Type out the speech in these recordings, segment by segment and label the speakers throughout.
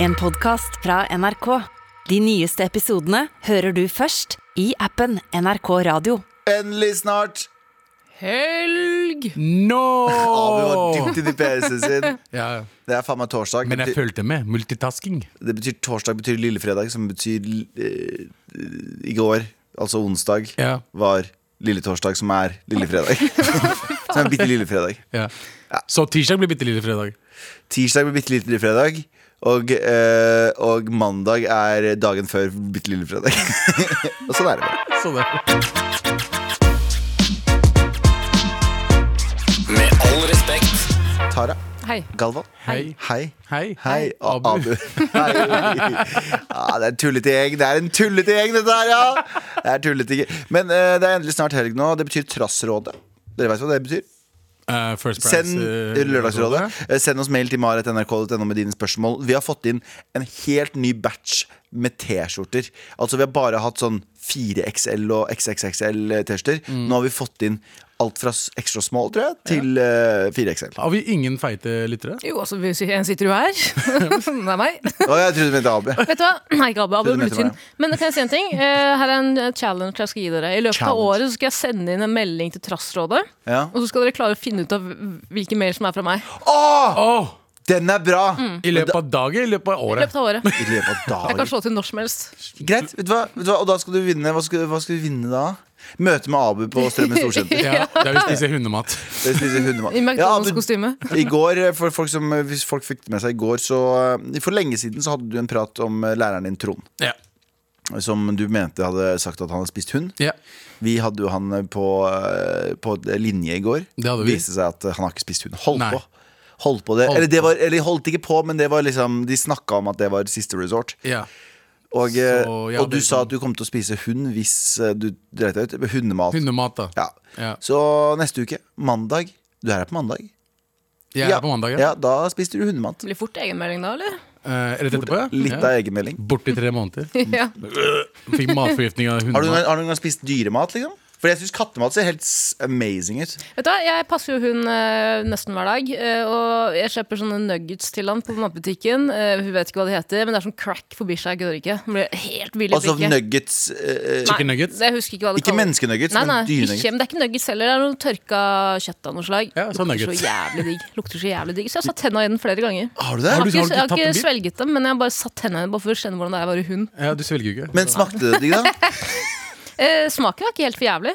Speaker 1: En podcast fra NRK. De nyeste episodene hører du først i appen NRK Radio.
Speaker 2: Endelig snart!
Speaker 3: Helg!
Speaker 4: No!
Speaker 2: Abu var dypt inni PC-en sin.
Speaker 4: Ja,
Speaker 2: Det er faen meg torsdag.
Speaker 4: men jeg
Speaker 2: Det
Speaker 4: fulgte med. Multitasking.
Speaker 2: betyr- Det betyr torsdag betyr lillefredag, som betyr eh, I går, altså onsdag,
Speaker 4: Ja.
Speaker 2: var lilletorsdag, som er lillefredag. som er bitte lillefredag.
Speaker 4: Ja. Så tirsdag blir bitte lille fredag.
Speaker 2: Tirsdag blir bitte lillefredag, og, eh, og mandag er dagen før bitte lillefredag. og sånn er det bare.
Speaker 4: Så det.
Speaker 5: Med all respekt.
Speaker 2: Tara.
Speaker 3: Hei.
Speaker 2: Galvan.
Speaker 4: Hei.
Speaker 2: Hei.
Speaker 4: Hei.
Speaker 2: Hei,
Speaker 4: Abu.
Speaker 2: A- Abu. Hei. Ja, det er en tullete gjeng. Det er en tullete gjeng, dette her, ja! Det er tullete gjeng. Men eh, det er endelig snart helg nå. Det betyr Trassrådet. Dere vet hva det betyr?
Speaker 4: Eh, first prize,
Speaker 2: Send
Speaker 4: eh,
Speaker 2: Lørdagsrådet. Eh, Send oss mail til maret.nrk.no med dine spørsmål. Vi har fått inn en helt ny batch med T-skjorter. Altså Vi har bare hatt sånn 4XL og XXXL eh, T-skjorter. Nå har vi fått inn alt fra s- extra small, tror jeg, til eh, 4XL.
Speaker 4: Har vi ingen feite lyttere?
Speaker 3: Jo, altså, vi- en sitter jo her. det er meg.
Speaker 2: Å, jeg trodde du mente Abu.
Speaker 3: Vet du hva? Nei, ikke Abu. Abu
Speaker 2: Trodde
Speaker 3: er
Speaker 2: du mente
Speaker 3: Bluetooth.
Speaker 2: meg,
Speaker 3: Men kan jeg si en ting? Eh, her er en challenge jeg skal gi dere. I løpet av
Speaker 2: Challenge.
Speaker 3: året så skal jeg sende inn en melding til Trassrådet.
Speaker 2: Ja.
Speaker 3: Og så skal dere klare å finne ut av hvilke mail som er fra meg.
Speaker 2: Å,
Speaker 4: Åh,
Speaker 2: den er bra!
Speaker 4: I løpet av dagen? I løpet av
Speaker 3: I
Speaker 4: året?
Speaker 3: løpet av året.
Speaker 2: I løpet av
Speaker 3: Jeg kan
Speaker 2: dagen.
Speaker 3: slå til når som helst.
Speaker 2: Greit, vet du hva? Vet du hva? Og da skal du vinne. Hva skal, hva skal du vinne da? Møte med Abu på Strømmen storsenter.
Speaker 4: Ja, der vi spiser hundemat.
Speaker 2: Det spiser hundemat.
Speaker 3: I
Speaker 2: Ja, Abu,
Speaker 3: McDonald's-kostyme.
Speaker 2: I går, for folk som, hvis folk fikk det med seg i går så, eh, For lenge siden så hadde du en prat om eh, læreren din Trond
Speaker 4: Ja.
Speaker 2: Som du mente hadde sagt at han hadde spist hund
Speaker 4: ja.
Speaker 2: Vi hadde jo han eh, på, eh, på linje i går
Speaker 4: Det hadde vi.
Speaker 2: Viste seg at han har ikke spist hund Holdt
Speaker 4: Nei.
Speaker 2: på Holdt på det,
Speaker 4: Holdt
Speaker 2: eller det var, eller holdt ikke på Men det var liksom, de snakket om at det var siste resort
Speaker 4: ja.
Speaker 2: Og, eh,
Speaker 4: Så, ja,
Speaker 2: og du
Speaker 4: det- sånn.
Speaker 2: sa at du kom til å spise hund Hvis eh, du dreit deg ut Hundemat
Speaker 4: Hundemat, da.
Speaker 2: ja.
Speaker 4: Ja.
Speaker 2: Så neste uke, mandag Du er her på mandag
Speaker 4: Jeg er på mandag, ja.
Speaker 2: ja, da spiste du hundemat
Speaker 3: Det blir fort egenmelding da, eller?
Speaker 4: Eh, rett etterpå, ja.
Speaker 2: Litt av
Speaker 4: ja.
Speaker 2: egenmelding.
Speaker 4: Borte i tre måneder.
Speaker 3: Ja.
Speaker 4: Fikk matforgiftning av
Speaker 2: Har du, noen,
Speaker 4: hundemat.
Speaker 2: har du noen gang spist dyremat, liksom? For jeg syns kattemat ser helt s- amazing ut.
Speaker 3: Vet du hva, Jeg passer jo hun eh, nesten hver dag. eh, og jeg kjøper sånne nuggets til han på matbutikken. eh, hun vet ikke hva det heter, men det er sånn crack for bikkja. Jeg gidder ikke. Hun blir helt vill i
Speaker 2: Altså
Speaker 3: blikket.
Speaker 2: nuggets eh,
Speaker 3: Nei,
Speaker 4: Chicken nuggets?
Speaker 3: Jeg husker ikke hva det
Speaker 2: Ikke
Speaker 3: kalles.
Speaker 2: menneskenuggets,
Speaker 3: Nei, nei,
Speaker 2: men
Speaker 3: ikke,
Speaker 2: dyrenuggets.
Speaker 3: men det er ikke nuggets heller. Det er noe tørka kjøtt av noe slag.
Speaker 4: Ja, så
Speaker 3: Lukter
Speaker 4: nuggets.
Speaker 3: så jævlig digg. Lukter så jævlig digg. Så jeg har satt tenna i den flere ganger. Jeg
Speaker 2: Har du det?
Speaker 4: Har
Speaker 3: har
Speaker 4: du-
Speaker 3: ikke, jeg
Speaker 4: tatt
Speaker 3: har
Speaker 4: en
Speaker 3: ikke
Speaker 4: bit?
Speaker 3: svelget dem, men jeg har bare satt tennene i den bare for å kjenne hvordan det er å være hund.
Speaker 4: Ja, du svelger jo ikke.
Speaker 2: Men smakte det digg, da?
Speaker 3: Eh, smaken var ikke helt for jævlig.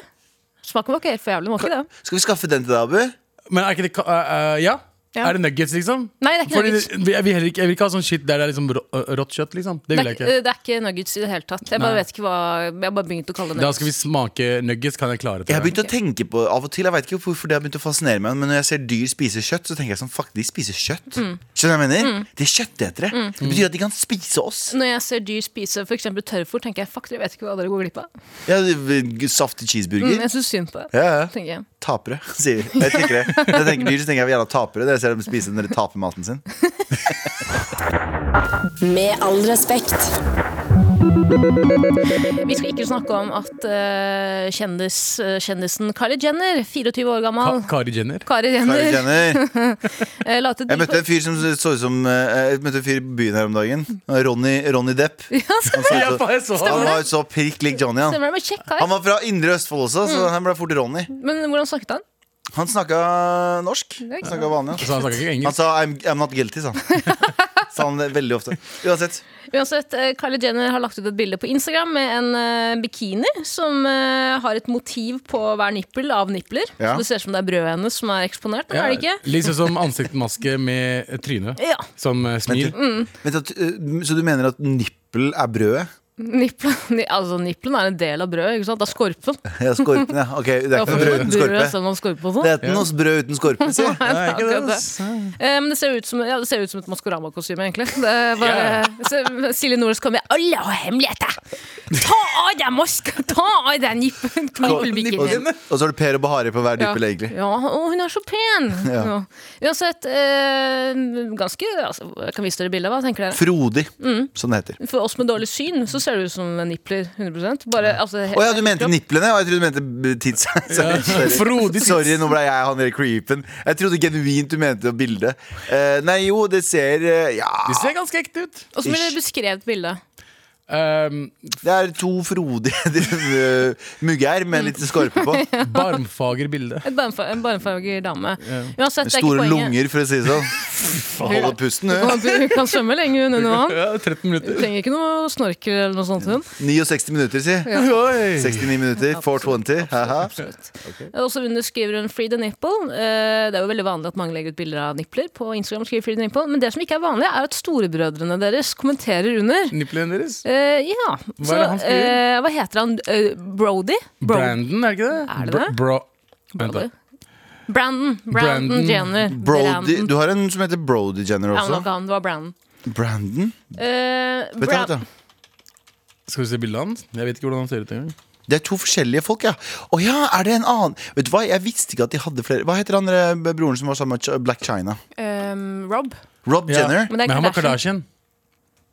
Speaker 3: Smaken var ikke helt for jævlig, den var ikke det.
Speaker 2: Skal vi skaffe den til deg, Abu?
Speaker 4: Men er ikke det ka- eh, eh, ja?
Speaker 3: Ja.
Speaker 4: Er det nuggets, liksom?
Speaker 3: Nei, det er ikke
Speaker 4: Fordi
Speaker 3: nuggets.
Speaker 4: det- Jeg vil, heller ikke, jeg vil ikke ha sånn shit der det er liksom rå- eh, rått kjøtt, liksom. Det
Speaker 3: Det
Speaker 4: vil
Speaker 3: er,
Speaker 4: jeg
Speaker 3: ikke-
Speaker 4: ikke.
Speaker 3: eh, det er ikke nuggets i det hele tatt. Jeg
Speaker 4: Nei.
Speaker 3: bare vet ikke hva Jeg har bare begynt å kalle det
Speaker 4: Da
Speaker 3: nuggets.
Speaker 4: skal vi smake nuggets, kan jeg klare
Speaker 2: Jeg har
Speaker 4: til det.
Speaker 2: begynt å tenke på av og til, jeg vet ikke hvorfor det har begynt å fascinere meg, men når jeg ser dyr spise kjøtt, så tenker jeg sånn fuck, de spiser kjøtt.
Speaker 4: Mm.
Speaker 2: Skjønner du hva jeg mener? De er kjøttetere. Det betyr at de kan spise oss.
Speaker 3: Når jeg ser dyr spise f.eks. tørrfôr, tenker jeg fuck, dere vet ikke hva dere går glipp av.
Speaker 2: Ja, de- Saftig
Speaker 3: Mm,
Speaker 2: cheeseburger.
Speaker 3: jeg syns synd på det.
Speaker 2: Ja, ja.
Speaker 3: tenker jeg.
Speaker 2: Tapere, sier de. Jeg tenker det. Når jeg tenker dyr, så tenker jeg vi er jævla tapere. Dere ser dem spise når de taper maten sin.
Speaker 1: Med all respekt.
Speaker 3: Vi skal ikke snakke om at eh, kjendis, eh, kjendisen Kylie Jenner, 24 år gammel
Speaker 4: Ka Kari Jenner.
Speaker 3: Kari Jenner,
Speaker 2: Kari Jenner.
Speaker 3: eh, la ut et
Speaker 2: Jeg møtte
Speaker 3: bilde
Speaker 2: en fyr som så ut som eh, Jeg møtte en fyr i byen her om dagen. Ronny, Ronny Depp. Han, så
Speaker 4: Ja,
Speaker 2: ut som,
Speaker 4: jeg så
Speaker 2: han
Speaker 4: han.
Speaker 2: var så prikk lik Johnny.
Speaker 3: på
Speaker 2: Han.
Speaker 3: Stemmer det, men kjekk
Speaker 2: han
Speaker 3: kar.
Speaker 2: var fra Indre Østfold også,
Speaker 4: Mm.
Speaker 2: så han ble fort Ronny.
Speaker 3: Men hvordan snakket han?
Speaker 2: Han snakka norsk.
Speaker 3: er ikke
Speaker 2: Han snakka vanlig. altså.
Speaker 4: Så han snakker ikke
Speaker 2: Han
Speaker 4: engelsk.
Speaker 2: sa I'm, 'I'm not guilty', sa han. Sa han det veldig ofte. Uansett.
Speaker 3: Uansett, eh, Kylie Jenner har lagt ut et bilde på Instagram med en eh, bikini som eh, har et motiv på hver nippel av nipler.
Speaker 2: Ja.
Speaker 3: Så det ser ut som det er brødet hennes som er eksponert,
Speaker 4: Ja,
Speaker 3: er det ikke?
Speaker 4: Litt sånn som ansiktsmaske med eh, tryne.
Speaker 3: Ja.
Speaker 4: Som eh, smil.
Speaker 2: Vent, at, eh, så du mener at nippel er brødet?
Speaker 3: Nippelen, ni- altså, nippelen er en del av brødet, ikke sant? Det er skorpen.
Speaker 2: Ja, skorpen, ja. Ok, det er ikke noe brød uten
Speaker 3: Brødet
Speaker 2: skorpe.
Speaker 3: selv om skorpe og sånn.
Speaker 2: Det er ikke noe brød uten skorpe, si.
Speaker 4: Nei, ikke det, altså.
Speaker 3: akkurat det.
Speaker 4: ass.
Speaker 3: Eh, Men det ser ut som, ja, det ser ut som et Maskorama-kostyme, egentlig. Det var,
Speaker 4: Ja.
Speaker 3: så Silje Nordnes kom med 'Alle har hemmeligheter'! Ta av deg maska! Ta av deg nippen!
Speaker 2: Og, og så har du Per og Bahari på hver duppel, egentlig.
Speaker 3: Ja, og hun er så pen! Ja.
Speaker 2: Ja.
Speaker 3: Uansett, eh, ganske altså, Jeg kan vise dere bildet, hva tenker dere?
Speaker 2: Frodig, som Mm. det heter.
Speaker 3: For oss med dårlig syn så ser det ut som en nippler. 100 Bare, altså,
Speaker 2: Å ja, du mente niplene? Og jeg trodde du mente b- tits. Sorry, sorry.
Speaker 4: Frodig tits.
Speaker 2: sorry, nå ble jeg han der creepen. Jeg trodde genuint du mente bildet. Eh, nei, jo, det ser eh, Ja.
Speaker 4: De ser ganske ekte ut.
Speaker 3: Åssen ville dere beskrevet bildet?
Speaker 4: Um,
Speaker 2: Det er to frodige eh, mugger med litt skorpe på.
Speaker 4: barmfager bilde.
Speaker 3: Et barmfa- En barmfarger dame. Uansett, det er ikke
Speaker 2: Store
Speaker 3: poenget.
Speaker 2: lunger, for å si det sånn. Holde pusten, hun.
Speaker 3: Hun kan svømme lenge, hun under vann.
Speaker 4: Ja, 13 minutter.
Speaker 3: Trenger ikke noe snorkel eller noe sånt. Hun.
Speaker 2: 69 minutter, si.
Speaker 4: Oi.
Speaker 2: 69 minutter, 420. Haha.
Speaker 3: Og så under skriver hun 'free the nipple'. Eh, Det er jo veldig vanlig at mange legger ut bilder av nipler på Instagram. skriver free the nipple Men det som ikke er vanlig, er at storebrødrene deres kommenterer under.
Speaker 4: Nipplene deres.
Speaker 3: Eh, ja.
Speaker 4: Hva
Speaker 3: Så
Speaker 4: er det han skriver?
Speaker 3: eh, hva heter han? Eh, Brody? Bro-
Speaker 4: Brandon, er det ikke det?
Speaker 3: Er det det?
Speaker 4: Bro, bro. Vent da.
Speaker 3: Brody. Brandon. Brandon
Speaker 4: Brandon.
Speaker 3: Jenner.
Speaker 2: Brody,
Speaker 3: Brandon.
Speaker 2: du har en som heter Brody Jenner
Speaker 3: Ja, men det var
Speaker 2: også.
Speaker 3: ikke han, det var Brandon.
Speaker 2: Brandon?
Speaker 3: Eh,
Speaker 2: Vet du, hva,
Speaker 3: Bran-
Speaker 2: vet du.
Speaker 4: Skal vi se bildet hans? Jeg vet ikke hvordan han ser ut engang.
Speaker 2: Det er to forskjellige folk, ja. Å ja, er det en annen? Vet du hva, Jeg visste ikke at de hadde flere. Hva heter han eh, broren som var sammen med Ch- Black China?
Speaker 3: ehm, Rob.
Speaker 2: Rob
Speaker 4: Ja.
Speaker 2: Jenner?
Speaker 3: Men det er
Speaker 4: Men han var
Speaker 3: Kardashian.
Speaker 4: Kardashian.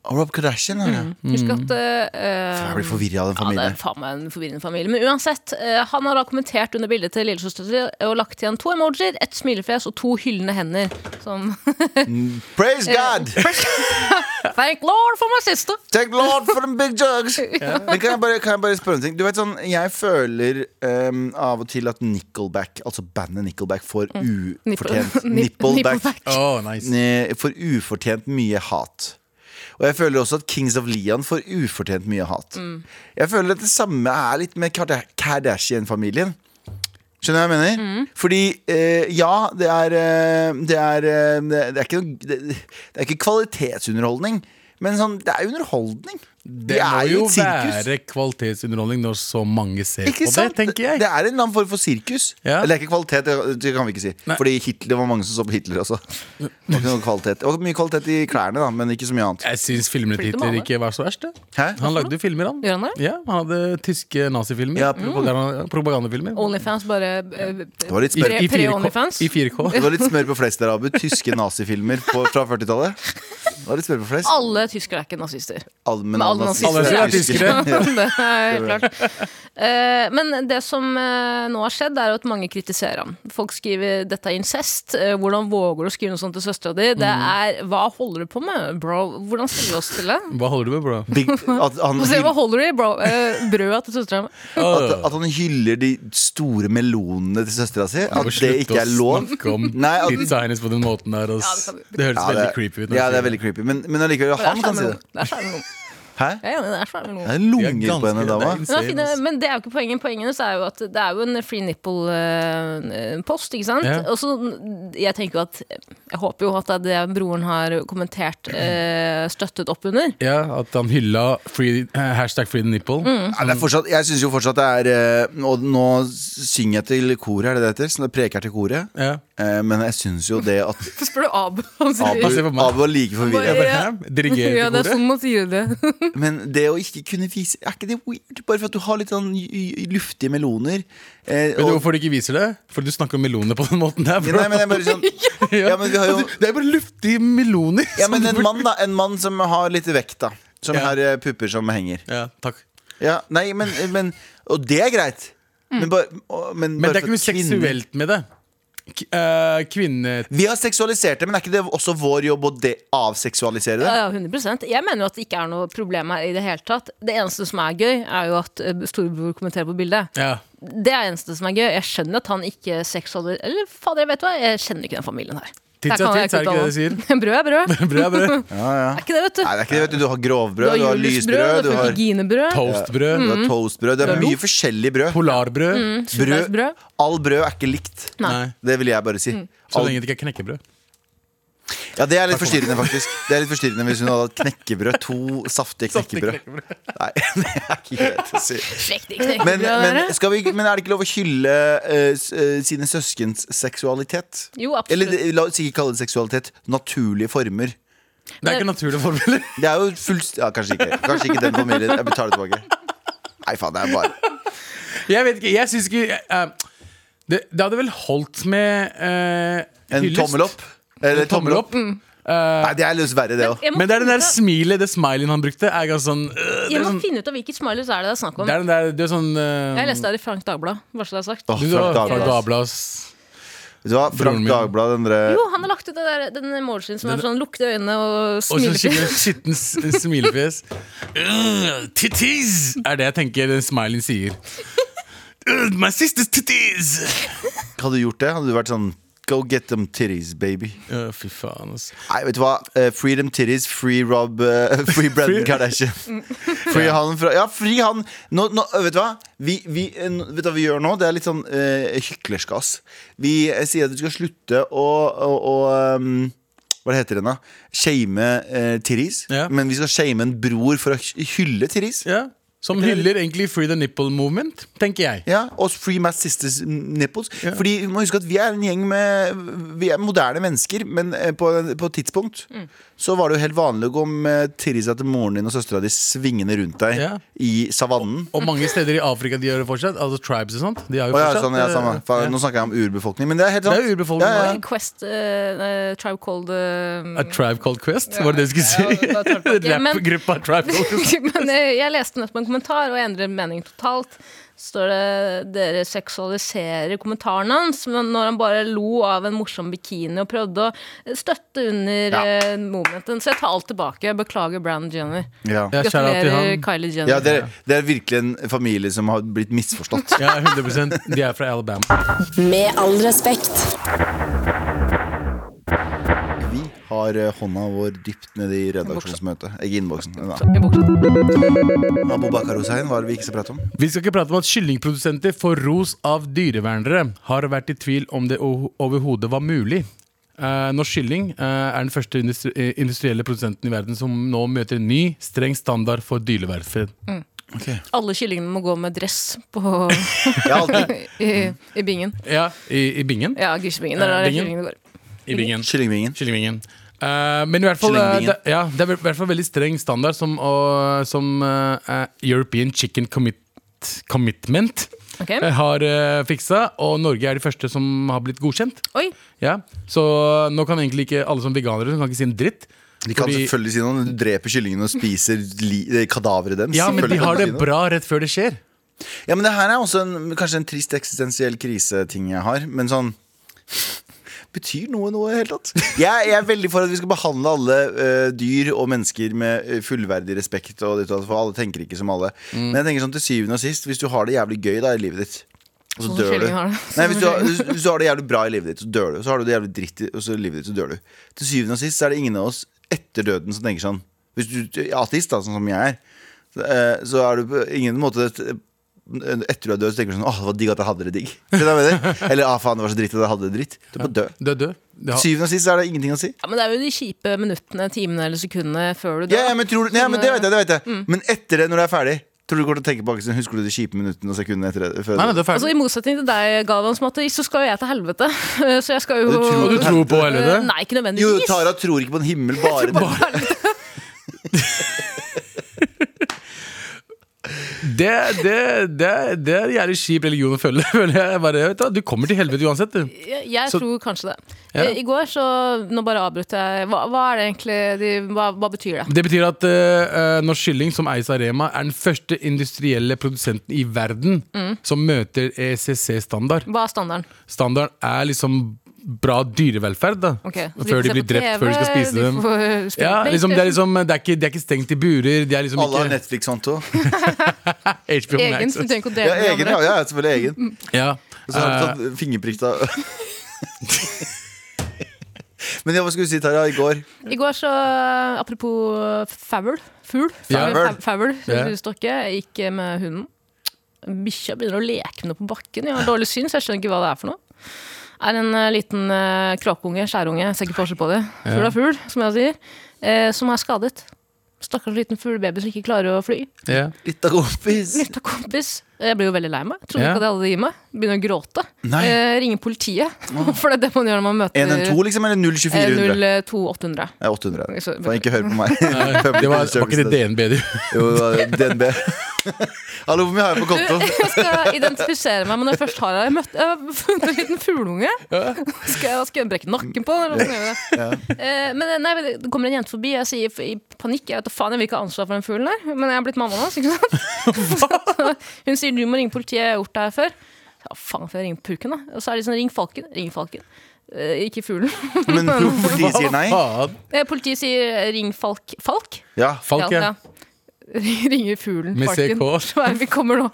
Speaker 2: Og Rob Kardashian, ja.
Speaker 3: Husk
Speaker 4: Mm.
Speaker 3: at eh,
Speaker 2: Jeg blir forvirra av den
Speaker 3: Mm. Ja,
Speaker 2: familien.
Speaker 3: det er faen meg en forvirrende familie. Men uansett, eh, han har da kommentert under bildet til lillesøster si og lagt igjen to emojier, ett smilefjes og to hyllende hender. Som
Speaker 2: Praise God!
Speaker 3: Thank Lord for my sister!
Speaker 2: Thank Lord for the big jugs! Men kan jeg, bare, kan jeg bare spørre en ting? Du vet sånn, Jeg føler ehm, av og til at Nickelback, altså bandet Nickelback, får ufortjent Nippleback.
Speaker 3: Nippleback.
Speaker 4: Oh, nice.
Speaker 2: Ne- Eh, får ufortjent mye hat. Og jeg føler også at Kings of Leon får ufortjent mye hat. Jeg føler at det samme er litt med Karda- Kardashian-familien. Skjønner du hva jeg mener? Fordi eh, ja, det er, eh, det, er, eh, det, er ikke, noe- det, det er ikke kvalitetsunderholdning, men sånn, det er underholdning.
Speaker 4: Det
Speaker 2: Vi
Speaker 4: må
Speaker 2: er i
Speaker 4: jo
Speaker 2: et sirkus.
Speaker 4: være kvalitetsunderholdning når så mange ser
Speaker 2: Ikke
Speaker 4: på det,
Speaker 2: sant?
Speaker 4: tenker jeg.
Speaker 2: Det er en eller annen form for sirkus.
Speaker 4: Ja.
Speaker 2: Eller ikke kvalitet, det det kan vi ikke si.
Speaker 4: Nei.
Speaker 2: Fordi Hitler det var mange som så på Hitler også. Det var ikke noe kvalitet. Det var mye kvalitet i klærne, da, men ikke så mye annet.
Speaker 4: Jeg syns filmene til
Speaker 3: Flink til å
Speaker 4: Hitler
Speaker 3: male.
Speaker 4: ikke var så verst. Det.
Speaker 2: Hæ?
Speaker 4: Han lagde filmer, han.
Speaker 3: Gjør han det?
Speaker 4: Ja, han hadde tyske nazifilmer. Mm.
Speaker 2: Ja,
Speaker 4: propaganda. Propagandafilmer.
Speaker 3: Onlyfans bare eh,
Speaker 2: Det var litt,
Speaker 4: I,
Speaker 2: smør,
Speaker 4: i, 4K,
Speaker 3: Pre-Onlyfans?
Speaker 4: I 4K.
Speaker 2: det var litt smør på flest der, Abu. Tyske nazifilmer på, fra 40-tallet. Det var litt smør på flest.
Speaker 3: Alle tyskere er ikke nazister.
Speaker 2: All, men
Speaker 3: Men
Speaker 2: alle
Speaker 3: alle
Speaker 2: nazister
Speaker 4: nazister er
Speaker 2: er tyskere.
Speaker 4: tyskere.
Speaker 3: det er helt klart. Eh, men det som eh, nå har skjedd, er jo at mange kritiserer han. Folk skriver 'dette er incest'. Eh, hvordan våger du å skrive noe sånt til søstera di? Det er 'hva holder du på med, bro'? Hvordan stiller vi oss til det?
Speaker 4: Hva holder du med, bro?
Speaker 2: Big, at, han
Speaker 3: Få se, Hva
Speaker 2: hyller,
Speaker 3: holder du i bro, eh, brødet til søstera mi?
Speaker 2: at, at han hyller de store melonene til søstera si. At det ikke er lov.
Speaker 4: Slutt å snakke om
Speaker 2: Nei, at-
Speaker 4: pizza hennes på den måten der. ass.
Speaker 3: Ja, det
Speaker 4: det høres
Speaker 2: Ja,
Speaker 4: veldig
Speaker 2: det-
Speaker 4: creepy ut.
Speaker 2: Ja,
Speaker 4: når du
Speaker 2: det er
Speaker 4: sier
Speaker 2: veldig creepy. Men, men allikevel,
Speaker 3: Det er
Speaker 2: han kan si
Speaker 3: skjermen.
Speaker 2: det.
Speaker 3: Det er skjermen.
Speaker 2: Hæ?
Speaker 3: Jeg er enig, det er skjermen.
Speaker 2: Det er
Speaker 4: De er
Speaker 2: lunger på
Speaker 4: ganske-
Speaker 2: henne,
Speaker 4: det
Speaker 2: dama.
Speaker 4: er
Speaker 3: Men det, er
Speaker 4: insane,
Speaker 3: fine,
Speaker 4: ass.
Speaker 3: men det er jo ikke poenget. Poenget hennes er jo at det er jo en free nipple-post, ikke sant?
Speaker 4: Ja.
Speaker 3: Og så jeg tenker jo at Jeg håper jo at det er det broren har kommentert, eh, støttet opp under.
Speaker 4: Ja, At han hylla free, eh, hashtag free the nipple.
Speaker 3: Mm.
Speaker 2: Ja, det er fortsatt, jeg syns jo fortsatt det er eh, Og nå synger jeg til koret, er det det heter? Så jeg preker til koret.
Speaker 4: Ja.
Speaker 2: Eh, Men jeg syns jo det at
Speaker 3: Så spør du Abu. Han
Speaker 2: Abu,
Speaker 4: se på meg.
Speaker 2: Abu er like
Speaker 4: Jeg
Speaker 2: forvirra.
Speaker 4: bare, hæ? Dirigerer til koret?
Speaker 3: man sier det.
Speaker 2: Men det å ikke kunne vise Er ikke det weird? Bare for at du har litt sånn y- y- luftige meloner. eh,
Speaker 4: Vet du
Speaker 2: og-
Speaker 4: hvorfor du ikke viser det? Fordi du snakker om meloner på den måten der.
Speaker 2: Ja,
Speaker 4: Bro.
Speaker 2: Nei, men det er bare sånn Ja, men vi har jo
Speaker 4: Altså, Det er bare luftige meloner.
Speaker 2: Ja, men
Speaker 4: som
Speaker 2: en
Speaker 4: du-
Speaker 2: mann, da. En mann som har litt vekt, da. Som
Speaker 4: Ja.
Speaker 2: har eh, pupper som henger.
Speaker 4: Ja, takk.
Speaker 2: Ja, nei, men, men Og det er greit. Men bare, og- men bare
Speaker 4: Men det er ikke
Speaker 2: for
Speaker 4: noe
Speaker 2: kvinner-
Speaker 4: seksuelt med det. K eh, kvinne...
Speaker 2: Vi har seksualisert det, men er ikke det også vår jobb å de- avseksualisere det?
Speaker 3: Ja, ja, 100 Jeg mener jo at det ikke er noe problem her i det hele tatt. Det eneste som er gøy, er jo at eh, storebror kommenterer på bildet.
Speaker 4: Ja.
Speaker 3: Det er det eneste som er gøy. Jeg skjønner at han ikke seksualiserer Eller fader, jeg vet hva, jeg kjenner ikke den familien her.
Speaker 4: Tits er
Speaker 3: Der kan
Speaker 4: tits, er
Speaker 3: jeg
Speaker 4: det ikke det de
Speaker 3: uttale meg. Brød er brød.
Speaker 4: Brød er brød.
Speaker 3: Er ikke det, vet du.
Speaker 2: Nei, det er ikke det, vet du. Du har grovbrød, du har lysbrød, du har,
Speaker 3: ginebrød.
Speaker 4: Toastbrød.
Speaker 2: du har toastbrød. Mhm. Det er
Speaker 4: lo.
Speaker 2: mye forskjellig brød.
Speaker 4: Polarbrød.
Speaker 2: brød.
Speaker 3: surdeigsbrød.
Speaker 2: All brød er ikke likt.
Speaker 4: Mm. Nei.
Speaker 2: Det vil jeg bare si.
Speaker 4: Så
Speaker 2: All-
Speaker 4: lenge det ikke er knekkebrød.
Speaker 2: Ja, Det er litt forstyrrende, faktisk. Det er litt forstyrrende Hvis hun hadde hatt knekkebrød. To saftige knekkebrød. Nei, det er ikke greit å si. Men, men, skal vi, men er det ikke lov å hylle eh, s- eh, sine søskens seksualitet?
Speaker 3: Jo, absolutt.
Speaker 2: Eller eh, la oss ikke kalle det seksualitet. Naturlige former.
Speaker 4: Det er ikke naturlige forbilder.
Speaker 2: Det er jo fullst... Ja, kanskje ikke. Kanskje ikke den familien. Jeg betaler tilbake. Nei, faen, det er bare
Speaker 4: Jeg vet ikke, jeg syns ikke eh, det, det hadde vel holdt med eh,
Speaker 2: en
Speaker 4: hyllest.
Speaker 2: tommel opp. Eller
Speaker 4: En tommel opp. Eh,
Speaker 2: Nei, det er litt verre, det òg.
Speaker 3: Jeg må
Speaker 4: men det er den der
Speaker 3: finne ut av-
Speaker 4: smilet, det smilet han brukte, er ganske sånn eh, det,
Speaker 3: Jeg
Speaker 4: er
Speaker 3: må
Speaker 4: sånn
Speaker 3: finne ut av hvilket smileys er det det er snakk om.
Speaker 4: det er den der Det er sånn eh,
Speaker 3: Jeg leste det i Frank Dagblad. Bare så det er sagt.
Speaker 2: Åh,
Speaker 4: du,
Speaker 2: Frank
Speaker 4: Frank
Speaker 2: Dagblad.
Speaker 4: Dablas
Speaker 2: Vet du hva,
Speaker 4: Broren
Speaker 2: Frank
Speaker 4: min.
Speaker 2: Dagblad, den derre
Speaker 3: Jo, han har lagt ut det der, den emojien som er sånn lukte øynene og
Speaker 4: og sånn
Speaker 3: smilefjes.
Speaker 4: skikkelig skitten s- smilefjes. Uh, titties! Er det jeg tenker den smilen sier. Uh, my sister's titties!
Speaker 2: Hadde du gjort det, hadde du vært sånn Go get them titties, baby.
Speaker 4: Uh, fy faen, altså.
Speaker 2: Nei, vet du hva? Eh, free them titties, free Rob eh, Free Brendan
Speaker 4: Free-
Speaker 2: Kardashian. Free han fra Ja, fri han! Nå, nå, eh, vet du hva? Vi, vi, eh, nå- vet du hva vi gjør nå? Det er litt sånn eh, hyklersk, ass. Vi eh, sier at du skal slutte å, å, å ehm, hva det heter den da? Shame eh, titties.
Speaker 4: Ja.
Speaker 2: Men vi skal shame en bror for å hy- hylle titties.
Speaker 4: Ja, som hyller egentlig Free the Nipple Movement, tenker jeg.
Speaker 2: Ja, og Free My Sisters Nipples.
Speaker 4: Ja.
Speaker 2: Fordi vi må huske at vi er en gjeng med Vi er moderne mennesker, men eh, på, på et tidspunkt
Speaker 4: Mm.
Speaker 2: så var det jo helt vanlig å gå med Tirisa til moren din og søstera di svingende rundt deg
Speaker 4: Ja.
Speaker 2: i savannen.
Speaker 4: Og mange steder i Afrika de gjør det fortsatt. Altså tribes og sånt. De har
Speaker 2: Å
Speaker 4: jo
Speaker 2: ja,
Speaker 4: fortsatt
Speaker 2: sånn, ja,
Speaker 4: eh,
Speaker 2: samme. Faen, Nå snakker jeg om urbefolkning, men det er helt
Speaker 4: Det
Speaker 2: sant.
Speaker 4: er jo urbefolkning,
Speaker 2: Ja, ja,
Speaker 4: ja.
Speaker 3: Quest eh, eh, Tribe Called eh,
Speaker 4: A Tribe Called Quest, var det det du skulle si?
Speaker 3: Ja, det var Tribe Called- Men-
Speaker 4: Rappgruppa Tribe Called Quest.
Speaker 3: Men eh, jeg leste nettopp en kommentar, og jeg endrer mening totalt. Så står det dere seksualiserer kommentaren hans, men når han bare lo av en morsom bikini og prøvde å støtte under
Speaker 2: Ja.
Speaker 3: eh, momenten. Så jeg tar alt tilbake. Jeg beklager Brand Jenner.
Speaker 2: Ja.
Speaker 4: Ja, shout out til
Speaker 3: Gratulerer,
Speaker 4: han.
Speaker 3: Kylie Jenner.
Speaker 2: Ja, det, er, det er virkelig en familie som har blitt misforstått.
Speaker 4: Ja, 100 De er fra Alabama.
Speaker 1: Med all respekt.
Speaker 2: Vi har eh, hånda vår dypt nede i redaksjonsmøtet. Ikke innboksen. Ja.
Speaker 3: I buksa.
Speaker 2: Abubakar Hussein var det vi ikke skal prate om.
Speaker 4: Vi skal ikke prate om at kyllingprodusenter får ros av dyrevernere. Har vært i tvil om det o- overhodet var mulig. Eh, norsk kylling eh, er den første industri eh, industrielle produsenten i verden som nå møter en ny, streng standard for dyrevelferd.
Speaker 3: Alle kyllingene må gå med dress på,
Speaker 2: Jeg har alltid
Speaker 3: i, i bingen.
Speaker 4: Ja, i, i bingen.
Speaker 3: Ja, grisebingen. Der
Speaker 4: Eh,
Speaker 3: er
Speaker 4: bingen?
Speaker 3: kyllingene går.
Speaker 4: I bingen.
Speaker 2: Kyllingvingen.
Speaker 4: Kyllingvingen. Eh, men i hvert fall, eh,
Speaker 2: Kyllingbingen.
Speaker 4: det, ja, det er i hvert fall veldig streng standard som, å- som eh, eh, European Chicken Commit Commitment
Speaker 3: Ok.
Speaker 4: eh, har eh, fiksa, og Norge er de første som har blitt godkjent.
Speaker 3: Oi,
Speaker 4: Ja. Så nå kan egentlig ikke alle som veganere kan ikke si en dritt.
Speaker 2: De kan
Speaker 4: Fordi-
Speaker 2: selvfølgelig si noe når du dreper kyllingene og spiser li, eh, kadaveret deres.
Speaker 4: Ja, men de
Speaker 2: Selvfølgelig
Speaker 4: har
Speaker 2: kan
Speaker 4: det
Speaker 2: si noe.
Speaker 4: bra rett før det skjer.
Speaker 2: Ja, men det her er også en, kanskje en trist eksistensiell kriseting jeg har, men sånn Betyr noe noe i det hele tatt? Jeg, jeg er veldig for at vi skal behandle alle eh, dyr og mennesker med eh, fullverdig respekt, og ditt og datt, for alle tenker ikke som alle. Men jeg tenker sånn til syvende og sist, hvis du har det jævlig gøy da i livet ditt og så
Speaker 3: Sånn som
Speaker 2: dør du.
Speaker 3: kyllingen har det.
Speaker 2: Nei, hvis, du har, hvis, hvis du har det jævlig bra i livet ditt, så dør du. Så har du det jævlig dritt i og så i livet ditt, så dør du. Til syvende og sist så er det ingen av oss etter døden som tenker sånn Hvis du er ateist, da, sånn som jeg er, så, eh, så er du på ingen måte et, etter du er død, så tenker du sånn Åh, det var digg at jeg hadde det digg. Skjønner du hva jeg mener? Eller ah, faen, det var så dritt at jeg hadde det dritt. Du er på død.
Speaker 4: Du er død. Det
Speaker 2: Til
Speaker 4: har-
Speaker 2: syvende og sist så er det ingenting å si.
Speaker 3: ja, men det er jo de kjipe minuttene, timene eller sekundene før du dør.
Speaker 2: Ja, ja, men tror du, nei, men det vet jeg, det vet jeg. Men etter det, når du er ferdig, tror du du går til å tenke på akkurat sånn, husker du de kjipe minuttene og sekundene etter det? Før
Speaker 4: Nei, nei, det er
Speaker 3: Altså
Speaker 4: ferdig.
Speaker 3: I motsetning til deg, Galvan, som ateist, så skal jo jeg til helvete. Så jeg skal jo
Speaker 2: Du tror-
Speaker 4: Og du tror på helvete?
Speaker 3: Nei,
Speaker 2: jo,
Speaker 3: ikke nødvendigvis.
Speaker 2: Tara tror ikke på en himmel, bare det.
Speaker 4: Det, det, det, det er en jævlig kjip religion å følge. føler jeg. Bare, vet du, hva, du kommer til helvete uansett, du.
Speaker 3: Jeg, jeg
Speaker 4: Så-
Speaker 3: tror kanskje det.
Speaker 4: Ja.
Speaker 3: Eh, I går så Nå bare avbrøt jeg. Hva, hva er det egentlig de, hva, hva betyr det?
Speaker 4: Det betyr at eh, eh, norsk kylling, som eies av Rema, er den første industrielle produsenten i verden
Speaker 3: Mm.
Speaker 4: som møter E ECC-standard.
Speaker 3: Hva er standarden?
Speaker 4: Standarden er liksom bra dyrevelferd, da.
Speaker 3: Ok, så de
Speaker 4: Før
Speaker 3: får se
Speaker 4: de blir
Speaker 3: på
Speaker 4: drept,
Speaker 3: TV,
Speaker 4: før de skal spise
Speaker 3: de
Speaker 4: dem.
Speaker 3: får spille
Speaker 4: Ja, liksom, det, er
Speaker 3: PlayStation.
Speaker 4: liksom, det, er ikke, det er ikke stengt i burer. De er liksom
Speaker 2: Alle har
Speaker 4: ikke
Speaker 2: Netflix-konto.
Speaker 4: HBO
Speaker 3: Egen,
Speaker 4: Max.
Speaker 3: så du trenger ikke å
Speaker 2: Ja,
Speaker 3: dele med
Speaker 2: egen, ja,
Speaker 3: andre.
Speaker 2: ja, selvfølgelig egen.
Speaker 4: Ja.
Speaker 2: Og så har
Speaker 4: Eh,
Speaker 2: du tatt fingerprikk da. Men ja, hva skulle du si, Tara, i går?
Speaker 3: I går så, apropos favel, fugl,
Speaker 4: Ja.
Speaker 3: favel, favel
Speaker 4: Ja.
Speaker 3: husstokke, jeg gikk med hunden. Bikkja begynner å leke med på bakken. Jeg har dårlig syn, så jeg skjønner ikke hva det er for noe. Er en eh, liten uh, kråkeunge, skjærunge, ser ikke forskjell på det. Fugl er fugl, som jeg sier. eh, som er skadet. Stakkars liten fuglebaby som ikke klarer å fly.
Speaker 4: ja.
Speaker 2: Litt av kompis.
Speaker 3: Nytt av kompis. Jeg ble jo veldig lei meg. Trodde
Speaker 4: Ja.
Speaker 3: ikke at jeg hadde det i meg. Begynner å gråte.
Speaker 2: Nei.
Speaker 3: Eh, ringer politiet, for det er det man gjør når man møter eh,
Speaker 2: 112, liksom, eller 02400?
Speaker 3: 02800.
Speaker 2: Nei, 800.
Speaker 3: Så-
Speaker 2: Faen, ikke hør på meg.
Speaker 4: Det var, var ikke det DNB, du.
Speaker 2: Jo, det var DNB. Hallo, hvor mye har jeg på konto?
Speaker 3: Jeg skal identifisere meg, men når jeg først har jeg, jeg, møtt, jeg har funnet en liten fugleunge. Skal jeg, skal jeg brekke nakken på den? eller hvordan gjør jeg det? Eh, Men nei, men det kommer en jente forbi, jeg sier i panikk Jeg vet da faen, jeg vil ikke ha ansvar for den fuglen der, men jeg har blitt mammaen hans. ikke sant? Så Hun sier du må ringe politiet, jeg har gjort det her før. Ja, faen, får jeg ringe purken, da? Og så er de sånn ring falken. Ring falken. Eh, ikke fuglen.
Speaker 2: Men politiet sier nei.
Speaker 4: Faen.
Speaker 3: Eh, Politiet sier ring falk. Falk?
Speaker 2: Ja.
Speaker 4: Falk, ja.
Speaker 3: Ringer fuglen.
Speaker 4: Med
Speaker 3: falken.
Speaker 4: CK.
Speaker 3: Så er vi kommer nå.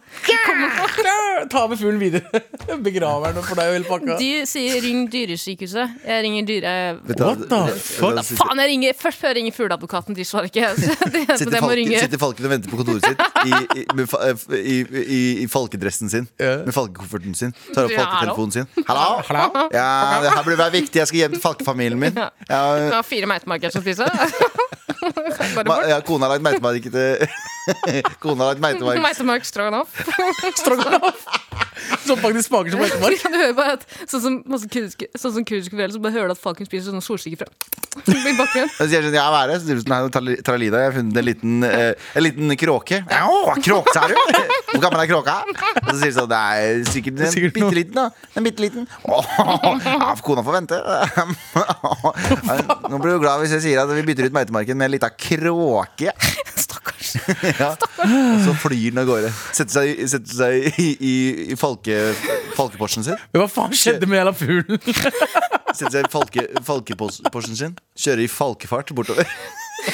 Speaker 4: Ta med fuglen videre. Begraver den for deg og hele pakka.
Speaker 3: De sier ring dyresykehuset. Jeg ringer dyre...
Speaker 2: Vet du hva?
Speaker 4: What the fuck?
Speaker 2: Da sitter-
Speaker 3: Faen, jeg ringer først før jeg ringer fugleadvokaten. De svarer ikke. Så det, så
Speaker 2: Sitter
Speaker 3: det må
Speaker 2: falken,
Speaker 3: ringe.
Speaker 2: sitter falken og venter på kontoret sitt i, i, med fa- eh, i, i, i falkedressen sin.
Speaker 4: Ja.
Speaker 2: Med falkekofferten sin. Tar opp
Speaker 3: Ja,
Speaker 2: falketelefonen sin. Hallo!
Speaker 4: Hallo?
Speaker 2: Ja, det her burde være viktig. Jeg skal hjem til falkefamilien min.
Speaker 3: Ja. Jeg
Speaker 2: Ja,
Speaker 3: har fire meitemarker jeg skal spise.
Speaker 2: ma,
Speaker 3: Bare bort.
Speaker 2: ja, kona har lagd meitemark til Kona har lagd meitemark.
Speaker 3: Meitemark stroganoff.
Speaker 4: Som faktisk smaker som ettemark.
Speaker 3: Du hører bare at Sånn som masse kurdiske Sånn som kurdiske foreldre som bare hører at falken spiser sånne solsikker fra i bakgrunnen.
Speaker 2: Så sier jeg sånn, ja, hva er det? Så sier hun sånn, «Nei, Tral- Tralida, jeg har funnet en liten, eh, en liten kråke. Ja, å, kråke, sa du? Hvor gammel er kråka? Og så sier hun sånn, det er sikkert en
Speaker 4: Sikkert noe.
Speaker 2: bitte liten, da. En bitte liten. ja, kona får vente. Nå blir du glad hvis jeg sier at vi bytter ut meitemarken med en liten kråke.
Speaker 3: Stakkars.
Speaker 2: Ja. Og så flyr den av gårde. Setter seg, i- setter seg i, i, i falke, falkeporsen sin.
Speaker 4: Men hva faen skjedde med jævla fuglen?
Speaker 2: Setter seg i falke, falkeporsen sin. Kjører i falkefart bortover.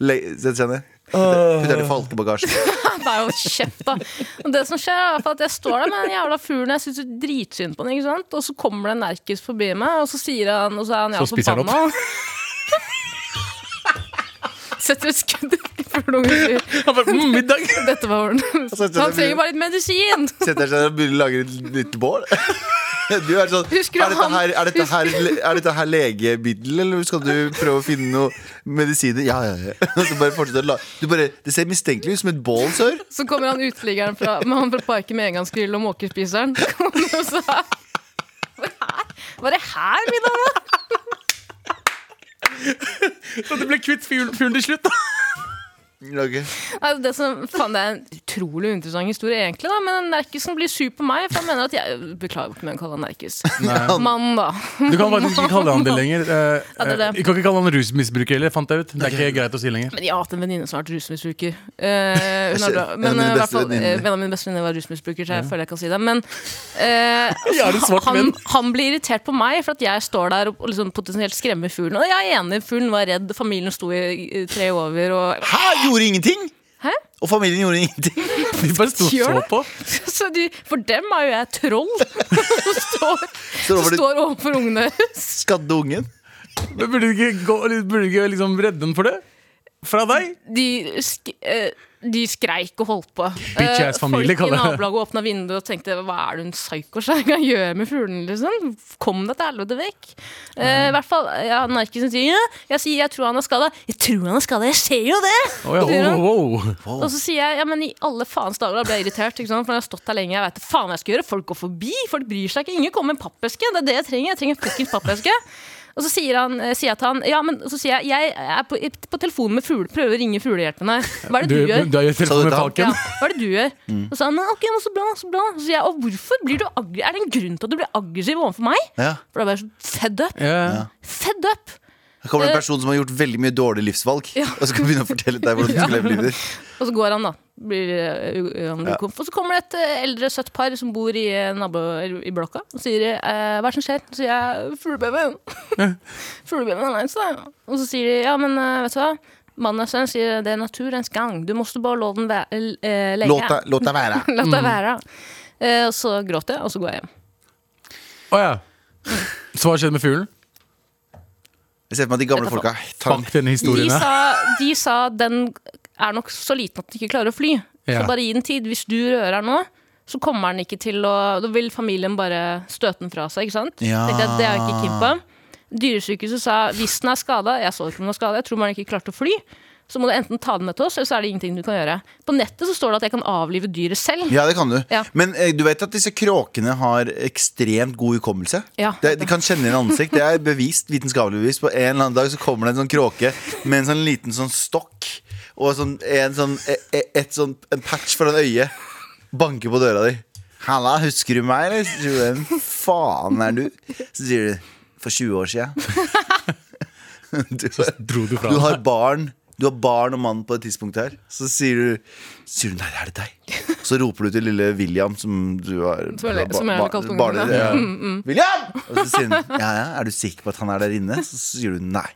Speaker 2: Le- Setter seg ned. Putter den i falkebagasjen.
Speaker 3: Det er jo kjeft, da. Og det som skjer, er i hvert fall at jeg står der med den jævla fuglen, jeg syns dritsynd på den, ikke sant? og så kommer det en nerkis forbi meg, og så sier han Og så er han
Speaker 4: Så
Speaker 3: jævla
Speaker 4: spiser han
Speaker 3: forbanna. Setter et skudd i fuglungen og sier
Speaker 4: Han bare, mm, middag
Speaker 3: dette var orden.
Speaker 2: setter jeg
Speaker 3: Han
Speaker 2: det-
Speaker 3: trenger bare litt medisin!
Speaker 2: Setter seg ned og begynner å lage et nytt bål. Du er sånn
Speaker 3: Husker du
Speaker 2: Er dette
Speaker 3: han-
Speaker 2: her, er dette her, er dette her legemiddel, eller skal du prøve å finne noe medisiner? Ja, ja, ja. Og så bare fortsetter å la du bare, Det ser mistenkelig ut som et bål, sør.
Speaker 3: Så kommer han uteliggeren fra, med han fra parken med engangsgrill og måkespiseren. Og så er- Var det her, middag, da?
Speaker 4: Så du ble kvitt fuglen fuglen til slutt. da.
Speaker 2: Okay.
Speaker 3: Nei, Det, som, faen, det er en utrolig interessant historie, egentlig. da Men Nerkisen blir sur på meg, for han mener at jeg Beklager ikke, men jeg kaller han Nerkis. Mann, da.
Speaker 4: Du kan faktisk ikke kalle han det lenger. Eh,
Speaker 3: Ja, det er det.
Speaker 4: eh, Vi kan ikke kalle han rusmisbruker heller, fant jeg ut. Det er ikke greit å si lenger.
Speaker 3: Men jeg har hatt en venninne som har vært rusmisbruker. Eh, hun er bra.
Speaker 2: En av
Speaker 3: Men
Speaker 2: mine
Speaker 3: eh, i hvert
Speaker 2: beste
Speaker 3: fall, eh,
Speaker 2: venninner.
Speaker 3: en av mine beste venninner var rusmisbruker, så jeg føler jeg kan si det. Men eh,
Speaker 4: Jeg er en svart
Speaker 3: han,
Speaker 4: venn.
Speaker 3: han blir irritert på meg for at jeg står der og liksom potensielt skremmer fuglen. Og jeg er enig, fuglen var redd, familien sto i i tre over og
Speaker 2: Hæ? Gjorde ingenting?
Speaker 3: Hæ?
Speaker 2: Og familien gjorde ingenting?
Speaker 4: Vi bare sto og så
Speaker 3: Gjør det.
Speaker 4: på.
Speaker 3: så de, For dem er jo jeg troll som
Speaker 2: Står
Speaker 3: står, som
Speaker 2: over det
Speaker 3: står overfor ungene deres.
Speaker 2: skadde ungen?
Speaker 4: Men burde du ikke, gå, burde du ikke liksom redde den for det? Fra deg?
Speaker 3: de, sk eh, de skreik og holdt på.
Speaker 4: Bitch ass
Speaker 3: Eh,
Speaker 4: familie,
Speaker 3: Folk
Speaker 4: kaller
Speaker 3: i
Speaker 4: jeg det.
Speaker 3: nabolaget åpna vinduet og tenkte hva er det hun psykosjanga gjør med fuglene? Liksom? Kom deg til helvete vekk. Eh, I hvert fall, ja, Narkisen sier ja, jeg sier jeg tror han er skada. Jeg tror han er skada, jeg ser jo det!
Speaker 4: Å ja, oh,
Speaker 3: Sier han.
Speaker 4: wow, wow.
Speaker 3: Og så sier jeg ja, men i alle faens dager, da blir jeg irritert. Ikke sant? For jeg har stått her lenge, jeg veit faen hva jeg skal gjøre. Folk går forbi, folk bryr seg ikke. Ingen kommer med en pappeske. Det er det jeg trenger. Jeg trenger en fuckings pappeske. Og så sier, han, eh, sier jeg til han Ja, men så sier jeg jeg er på, i- på telefonen med fugle, prøver å ringe fuglehjelpen her. Hva er det
Speaker 4: Du,
Speaker 3: du,
Speaker 4: du
Speaker 3: gjør?
Speaker 4: har jo telefon
Speaker 2: Sa
Speaker 4: med
Speaker 2: du
Speaker 4: falken.
Speaker 3: Ja, hva er det du gjør? Og så sa han «Nei, ok, men så bra, så bra. Så sier jeg, og hvorfor blir du aggressiv? Er det en grunn til at du blir aggressiv overfor meg?
Speaker 2: Ja.
Speaker 3: For da ble jeg så fed up.
Speaker 4: Ja.
Speaker 3: Fed up!
Speaker 2: Her kommer det en person som har gjort veldig mye dårlige livsvalg. Og skal begynne å fortelle deg hvordan du skal leve livet ditt.
Speaker 3: Og så går han, da. Blir, eh, u- han blir komf. Og så kommer det et eh, eldre, søtt par som bor i, eh, nabo, eller i blokka og sier eh, 'hva er det som skjer?' Så sier jeg 'fuglebabyen'. Fuglebabyen er nice, da. Og så sier de 'ja, men eh, vet du hva'. Mannen deres sønn sier 'det er naturens gang', du måste bare la den være, eh, lenge.
Speaker 2: Låt deg- Låt deg være.
Speaker 3: La det være. Eh, Og så gråter jeg, og så går jeg hjem.
Speaker 4: Å ja. Så hva skjedde med fuglen?
Speaker 2: Jeg ser for meg at de gamle folka tar
Speaker 4: Fuck denne historien.
Speaker 3: De
Speaker 4: her.
Speaker 3: sa, de sa den er nok så liten at den ikke klarer å fly.
Speaker 4: Ja.
Speaker 3: Så bare gi den tid. Hvis du rører den nå, så kommer den ikke til å Da vil familien bare støte den fra seg, ikke sant?
Speaker 2: Ja.
Speaker 3: Tenkte jeg, det er jeg ikke keen på. Dyresykehuset sa hvis den er skada Jeg så ikke om den var skada, jeg tror bare den ikke klarte å fly. Så må du enten ta den med til oss, eller så er det ingenting du kan gjøre. På nettet så står det at jeg kan avlive dyret selv.
Speaker 2: Ja, det kan du.
Speaker 3: Ja.
Speaker 2: Men eh, du vet at disse kråkene har ekstremt god hukommelse?
Speaker 3: Ja.
Speaker 2: Det, de kan kjenne igjen ansikt. Det er bevist, vitenskapelig bevist. På en eller annen dag så kommer det en sånn kråke med en sånn liten sånn stokk. og sånn, en, sånn, e- e- et sånn, en patch foran øyet banker på døra di. 'Halla, husker du meg?' Eller? Så sier du 'Hvem faen er du?' Så sier du 'For 20 år sia'.
Speaker 4: Så dro du fra
Speaker 2: Du
Speaker 4: deg.
Speaker 2: har barn Du har barn og mann på et tidspunkt her Så sier du, sier du Nei, er det deg? Så roper du til lille William Som du har
Speaker 3: Som jeg-
Speaker 2: ba-
Speaker 3: som jeg har
Speaker 2: ba-
Speaker 3: kalt ungen,
Speaker 2: barnet
Speaker 3: da.
Speaker 2: ditt, ja.
Speaker 3: Mm,
Speaker 2: William! Og så sier hun Ja, ja, er du sikker på at han er der inne? Så sier du nei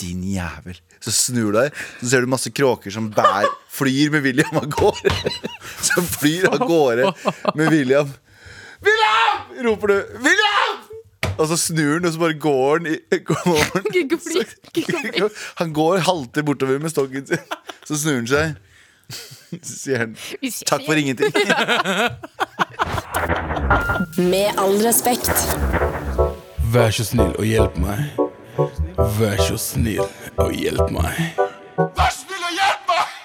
Speaker 2: din jævel Så snur du deg Så ser du masse kråker som bær Flyr med William av gårde Som flyr av gårde med William William! Roper du William! Og så snur han Og så bare går han i, går han
Speaker 3: Gikk og fly, gikk og fly.
Speaker 2: han går halter bortover med stokken sin. Så snur han seg. Så sier han
Speaker 3: Vi ses
Speaker 2: 'takk for
Speaker 3: igjen.
Speaker 2: ingenting'.
Speaker 1: Med all respekt.
Speaker 4: Vær så snill og hjelp meg. Vær så snill og hjelp meg.
Speaker 2: Vær snill og hjelp meg!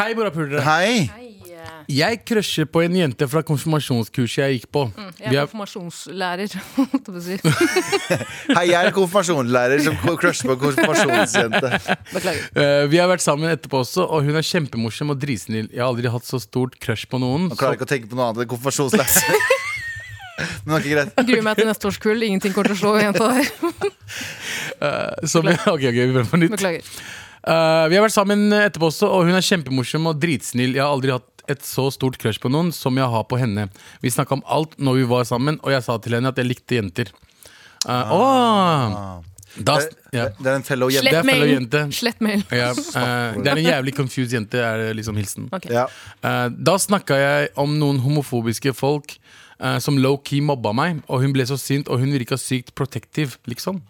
Speaker 4: Hei, morapulere.
Speaker 2: Hei.
Speaker 3: eh,
Speaker 4: Jeg crusher på en jente fra konfirmasjonskurset jeg gikk på. Vi
Speaker 3: Mm, Jeg er
Speaker 4: er,
Speaker 3: konfirmasjonslærer. holdt jeg på å si.
Speaker 2: Hei, jeg er konfirmasjonslærer som crusher på konfirmasjonsjente.
Speaker 3: Beklager.
Speaker 4: eh, vi har vært sammen etterpå også, og hun er kjempemorsom og dritsnill. Jeg har aldri hatt så stort crush på noen.
Speaker 2: Han klarer ikke å tenke på noe annet enn konfirmasjonslærer. Men det var ikke greit.
Speaker 3: Gruer meg til neste års kull. Ingenting kommer til å slå jenta der.
Speaker 4: Så, vi- ok, ok, vi prøver på nytt.
Speaker 3: Beklager.
Speaker 4: Eh, vi har vært sammen etterpå også, og hun er kjempemorsom og dritsnill. Jeg har aldri hatt et så stort crush på noen som jeg har på henne. Vi snakka om alt når vi var sammen, og jeg sa til henne at jeg likte jenter. Eh, åh! Da,
Speaker 2: Det,
Speaker 4: ja.
Speaker 2: det er en fellow jente.
Speaker 4: det
Speaker 3: Slett
Speaker 4: er feil å
Speaker 3: mailen.
Speaker 4: jente.
Speaker 3: Slett mailen.
Speaker 4: Ja, eh, det er en jævlig confused jente, er liksom hilsen.
Speaker 3: Ok.
Speaker 2: Ja.
Speaker 4: Eh, da snakka jeg om noen homofobiske folk eh, som low-key mobba meg, og hun ble så sint, og hun virka sykt protective, liksom.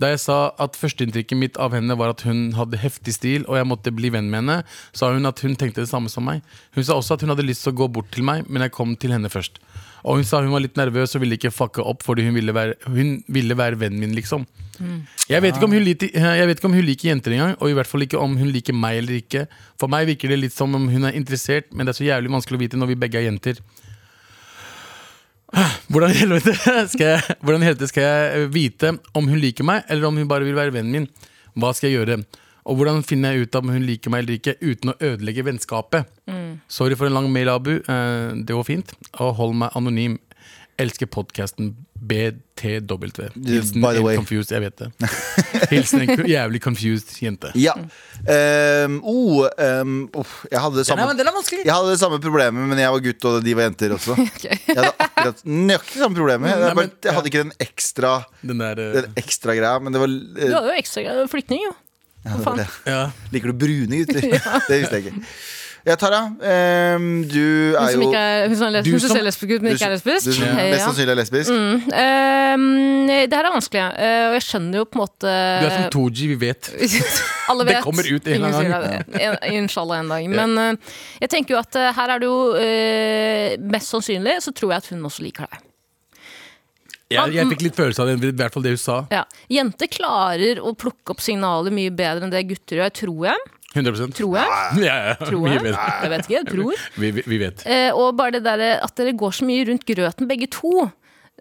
Speaker 4: Da jeg sa at førsteinntrykket mitt av henne var at hun hadde heftig stil, og jeg måtte bli venn med henne, sa hun at hun tenkte det samme som meg. Hun sa også at hun hadde lyst til å gå bort til meg, men jeg kom til henne først. Og hun sa hun var litt nervøs og ville ikke fucke opp fordi hun ville være, hun ville være vennen min, liksom. Jeg vet, ikke om hun liker, eh, jeg vet ikke om hun liker jenter engang, og i hvert fall ikke om hun liker meg eller ikke. For meg virker det litt som om hun er interessert, men det er så jævlig vanskelig å vite når vi begge er jenter. Hvordan i helvete skal jeg, hvordan i helvete skal jeg eh, vite om hun liker meg, eller om hun bare vil være vennen min? Hva skal jeg gjøre? Og hvordan finner jeg ut om hun liker meg eller ikke, uten å ødelegge vennskapet? Sorry for en lang mail, Abu. Eh, Det var fint. Og hold meg anonym. Elsker podkasten BTW. Hilsen
Speaker 2: By the
Speaker 4: en
Speaker 2: way.
Speaker 4: confused, jeg vet det. Hilsen en ko- jævlig confused jente.
Speaker 2: Ja. Um, oh, um, uff, jeg hadde det samme
Speaker 4: vanskelig.
Speaker 2: Jeg hadde det samme problemet, men jeg var gutt, og de var jenter også. Jeg hadde akkurat nøyaktig samme problemet. Jeg,
Speaker 4: Mm. Nei, men-
Speaker 2: bare, jeg hadde ikke den ekstra
Speaker 4: Den der eh,
Speaker 2: Den ekstra greia, men det var eh,
Speaker 3: Du hadde jo ekstra flyktning, jo.
Speaker 2: ja, det var
Speaker 3: faen.
Speaker 2: det.
Speaker 4: ja.
Speaker 2: Liker du brune gutter? Det visste jeg ikke. Ja, Tara. ehm, du
Speaker 3: Hun
Speaker 2: er
Speaker 3: som,
Speaker 2: jo
Speaker 3: ikke er, hun som, er les,
Speaker 4: Du
Speaker 3: hun som
Speaker 4: som-
Speaker 3: ser lesbisk ut, men ikke er lesbisk.
Speaker 2: Du som
Speaker 3: Hei,
Speaker 2: mest
Speaker 3: ja.
Speaker 2: sannsynlig er lesbisk.
Speaker 3: Mm, ehm, det her er vanskelig, eh, og jeg skjønner jo på en måte
Speaker 4: Du er
Speaker 3: Eh,
Speaker 4: som Tooji, vi vet.
Speaker 3: Alle
Speaker 4: Det
Speaker 3: vet.
Speaker 4: kommer ut en eller annen
Speaker 3: Ingen sier det. En- Inshallah en dag. Men eh, jeg tenker jo at eh, her er det jo eh, Mest sannsynlig så tror jeg at hun også liker deg.
Speaker 4: Jeg, jeg fikk litt følelse av det, i hvert fall det hun sa.
Speaker 3: Ja. Jenter klarer å plukke opp signaler mye bedre enn det gutter gjør, tror jeg.
Speaker 4: 100
Speaker 3: Tror jeg.
Speaker 4: Ja, ja.
Speaker 3: Tror
Speaker 4: Vi
Speaker 3: jeg.
Speaker 4: vet.
Speaker 3: jeg vet ikke, jeg tror.
Speaker 4: Vi, vi, vi vet.
Speaker 3: Eh, og bare det der at dere går så mye rundt grøten begge to,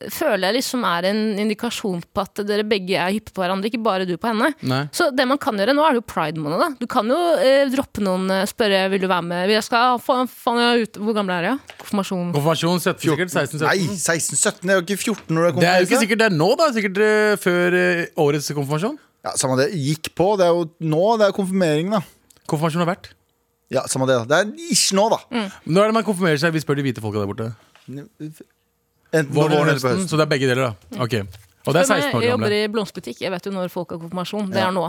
Speaker 3: føler jeg liksom er en indikasjon på at dere begge er hyppe på hverandre, ikke bare du på henne.
Speaker 4: Nei.
Speaker 3: Så det man kan gjøre nå, er jo pride-måned. da. Du kan jo eh, droppe noen, eh, spørre vil du være med. Jeg skal, faen, faen, jeg er ute. Hvor gammel er jeg? Konfirmasjon.
Speaker 4: Konfirmasjon setter sikkert 16-17.
Speaker 2: Nei, 16-17 er jo ikke 14 når du er
Speaker 4: Det er jo ikke
Speaker 2: konfirmert.
Speaker 4: sikkert det er nå, da. Sikkert eh, før eh, årets konfirmasjon.
Speaker 2: Ja, samme det. Gikk på. Det er jo nå det er konfirmering, da.
Speaker 4: Konfirmasjon har vært.
Speaker 2: Ja, samme det. da. Det er ikke nå, da.
Speaker 3: Mm.
Speaker 4: Når er det man konfirmerer seg? Vi spør de hvite folka der borte.
Speaker 2: Enten på
Speaker 4: Våren
Speaker 2: våren
Speaker 4: eller
Speaker 2: eller på
Speaker 4: høsten.
Speaker 2: høsten.
Speaker 4: Så det er begge deler, da. Ok. Og det er
Speaker 3: Spør meg,
Speaker 4: 16 år
Speaker 3: Jeg eh, jobber
Speaker 4: gamle.
Speaker 3: i blomsterbutikk. Jeg vet jo når folk har konfirmasjon. Det er nå.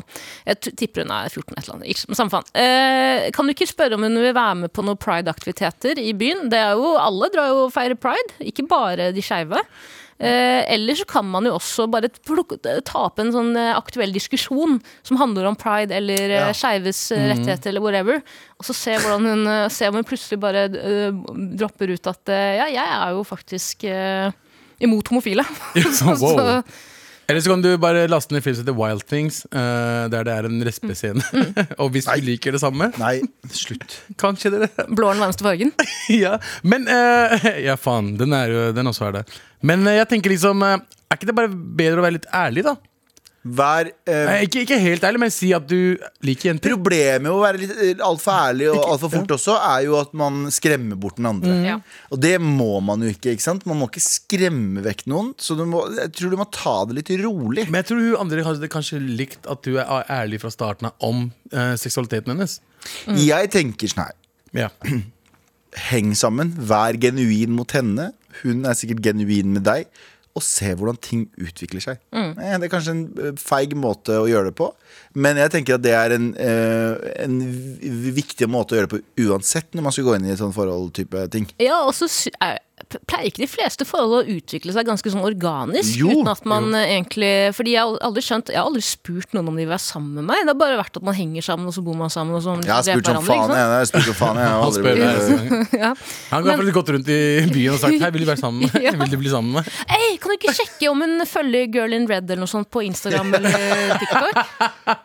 Speaker 3: Jeg t- tipper hun er 14 et eller annet. Ikke- men Samme faen. Eh, kan du ikke spørre om hun vil være med på noen pride-aktiviteter i byen? Det er jo, Alle drar jo og feirer pride, ikke bare de skeive. Eh, eller så kan man jo også bare plukke, ta opp en sånn eh, aktuell diskusjon som handler om pride eller ja.
Speaker 2: Ja.
Speaker 3: skeives eh,
Speaker 4: Mm.
Speaker 3: rettigheter eller whatever, og så se, hvordan hun, eh, se om hun plutselig bare eh, dropper ut at eh, ja, jeg er jo faktisk eh, imot homofile. Så-
Speaker 4: Wow.
Speaker 3: så-
Speaker 4: Eller så kan du bare laste ned filmen som heter Wild Things, eh, der det er en respescene.
Speaker 3: Mm.
Speaker 4: og hvis du liker det samme,
Speaker 2: Nei, slutt.
Speaker 4: kanskje dere
Speaker 3: Blå er den varmeste fargen.
Speaker 4: ja, men eh, Ja, faen. Den, er jo, den også er det. Men eh, jeg tenker liksom eh, Er ikke det bare bedre å være litt ærlig, da?
Speaker 2: Vær eh,
Speaker 4: Nei, Ikke, ikke helt ærlig, men si at du liker jenter.
Speaker 2: Problemet med å være litt eh, altfor ærlig og altfor fort også, er jo at man skremmer bort den andre.
Speaker 3: Ja.
Speaker 2: Og det må man jo ikke. ikke sant? Man må ikke skremme vekk noen. Så du må, jeg tror du må ta det litt rolig.
Speaker 4: Men jeg tror hun andre hadde kanskje likt at du er ærlig fra starten av om eh, seksualiteten hennes.
Speaker 2: Jeg tenker sånn her.
Speaker 4: Ja.
Speaker 2: Heng sammen. Vær genuin mot henne. Hun er sikkert genuin med deg. Og se hvordan ting utvikler seg. Eh, Det er kanskje en eh, feig måte å gjøre det på, men jeg tenker at det er en, eh, en v- viktig måte å gjøre det på uansett når man skal gå inn i et sånt forhold-type ting.
Speaker 3: Ja, og så sy- er- pleier ikke de fleste forhold å utvikle seg ganske sånn organisk.
Speaker 2: Jo,
Speaker 3: uten at man eh, egentlig Fordi jeg har aldri skjønt Jeg har aldri spurt noen om de vil være sammen med meg. Det har bare vært at man henger sammen, og så bor man sammen. Og så
Speaker 2: Jeg har spurt som faen, jeg. Jeg har spurt som faen, jeg. Jeg har
Speaker 4: Han
Speaker 2: aldri
Speaker 4: spør
Speaker 2: blitt-
Speaker 4: deg neste gang.
Speaker 3: Ja.
Speaker 4: Han har faktisk gått rundt i byen og sagt Hei, vil du være sammen med meg?
Speaker 3: Ja.
Speaker 4: Vil du bli sammen med meg?
Speaker 3: Ei, kan du ikke sjekke om hun følger Girl in Red eller noe sånt på Instagram eller TikTok?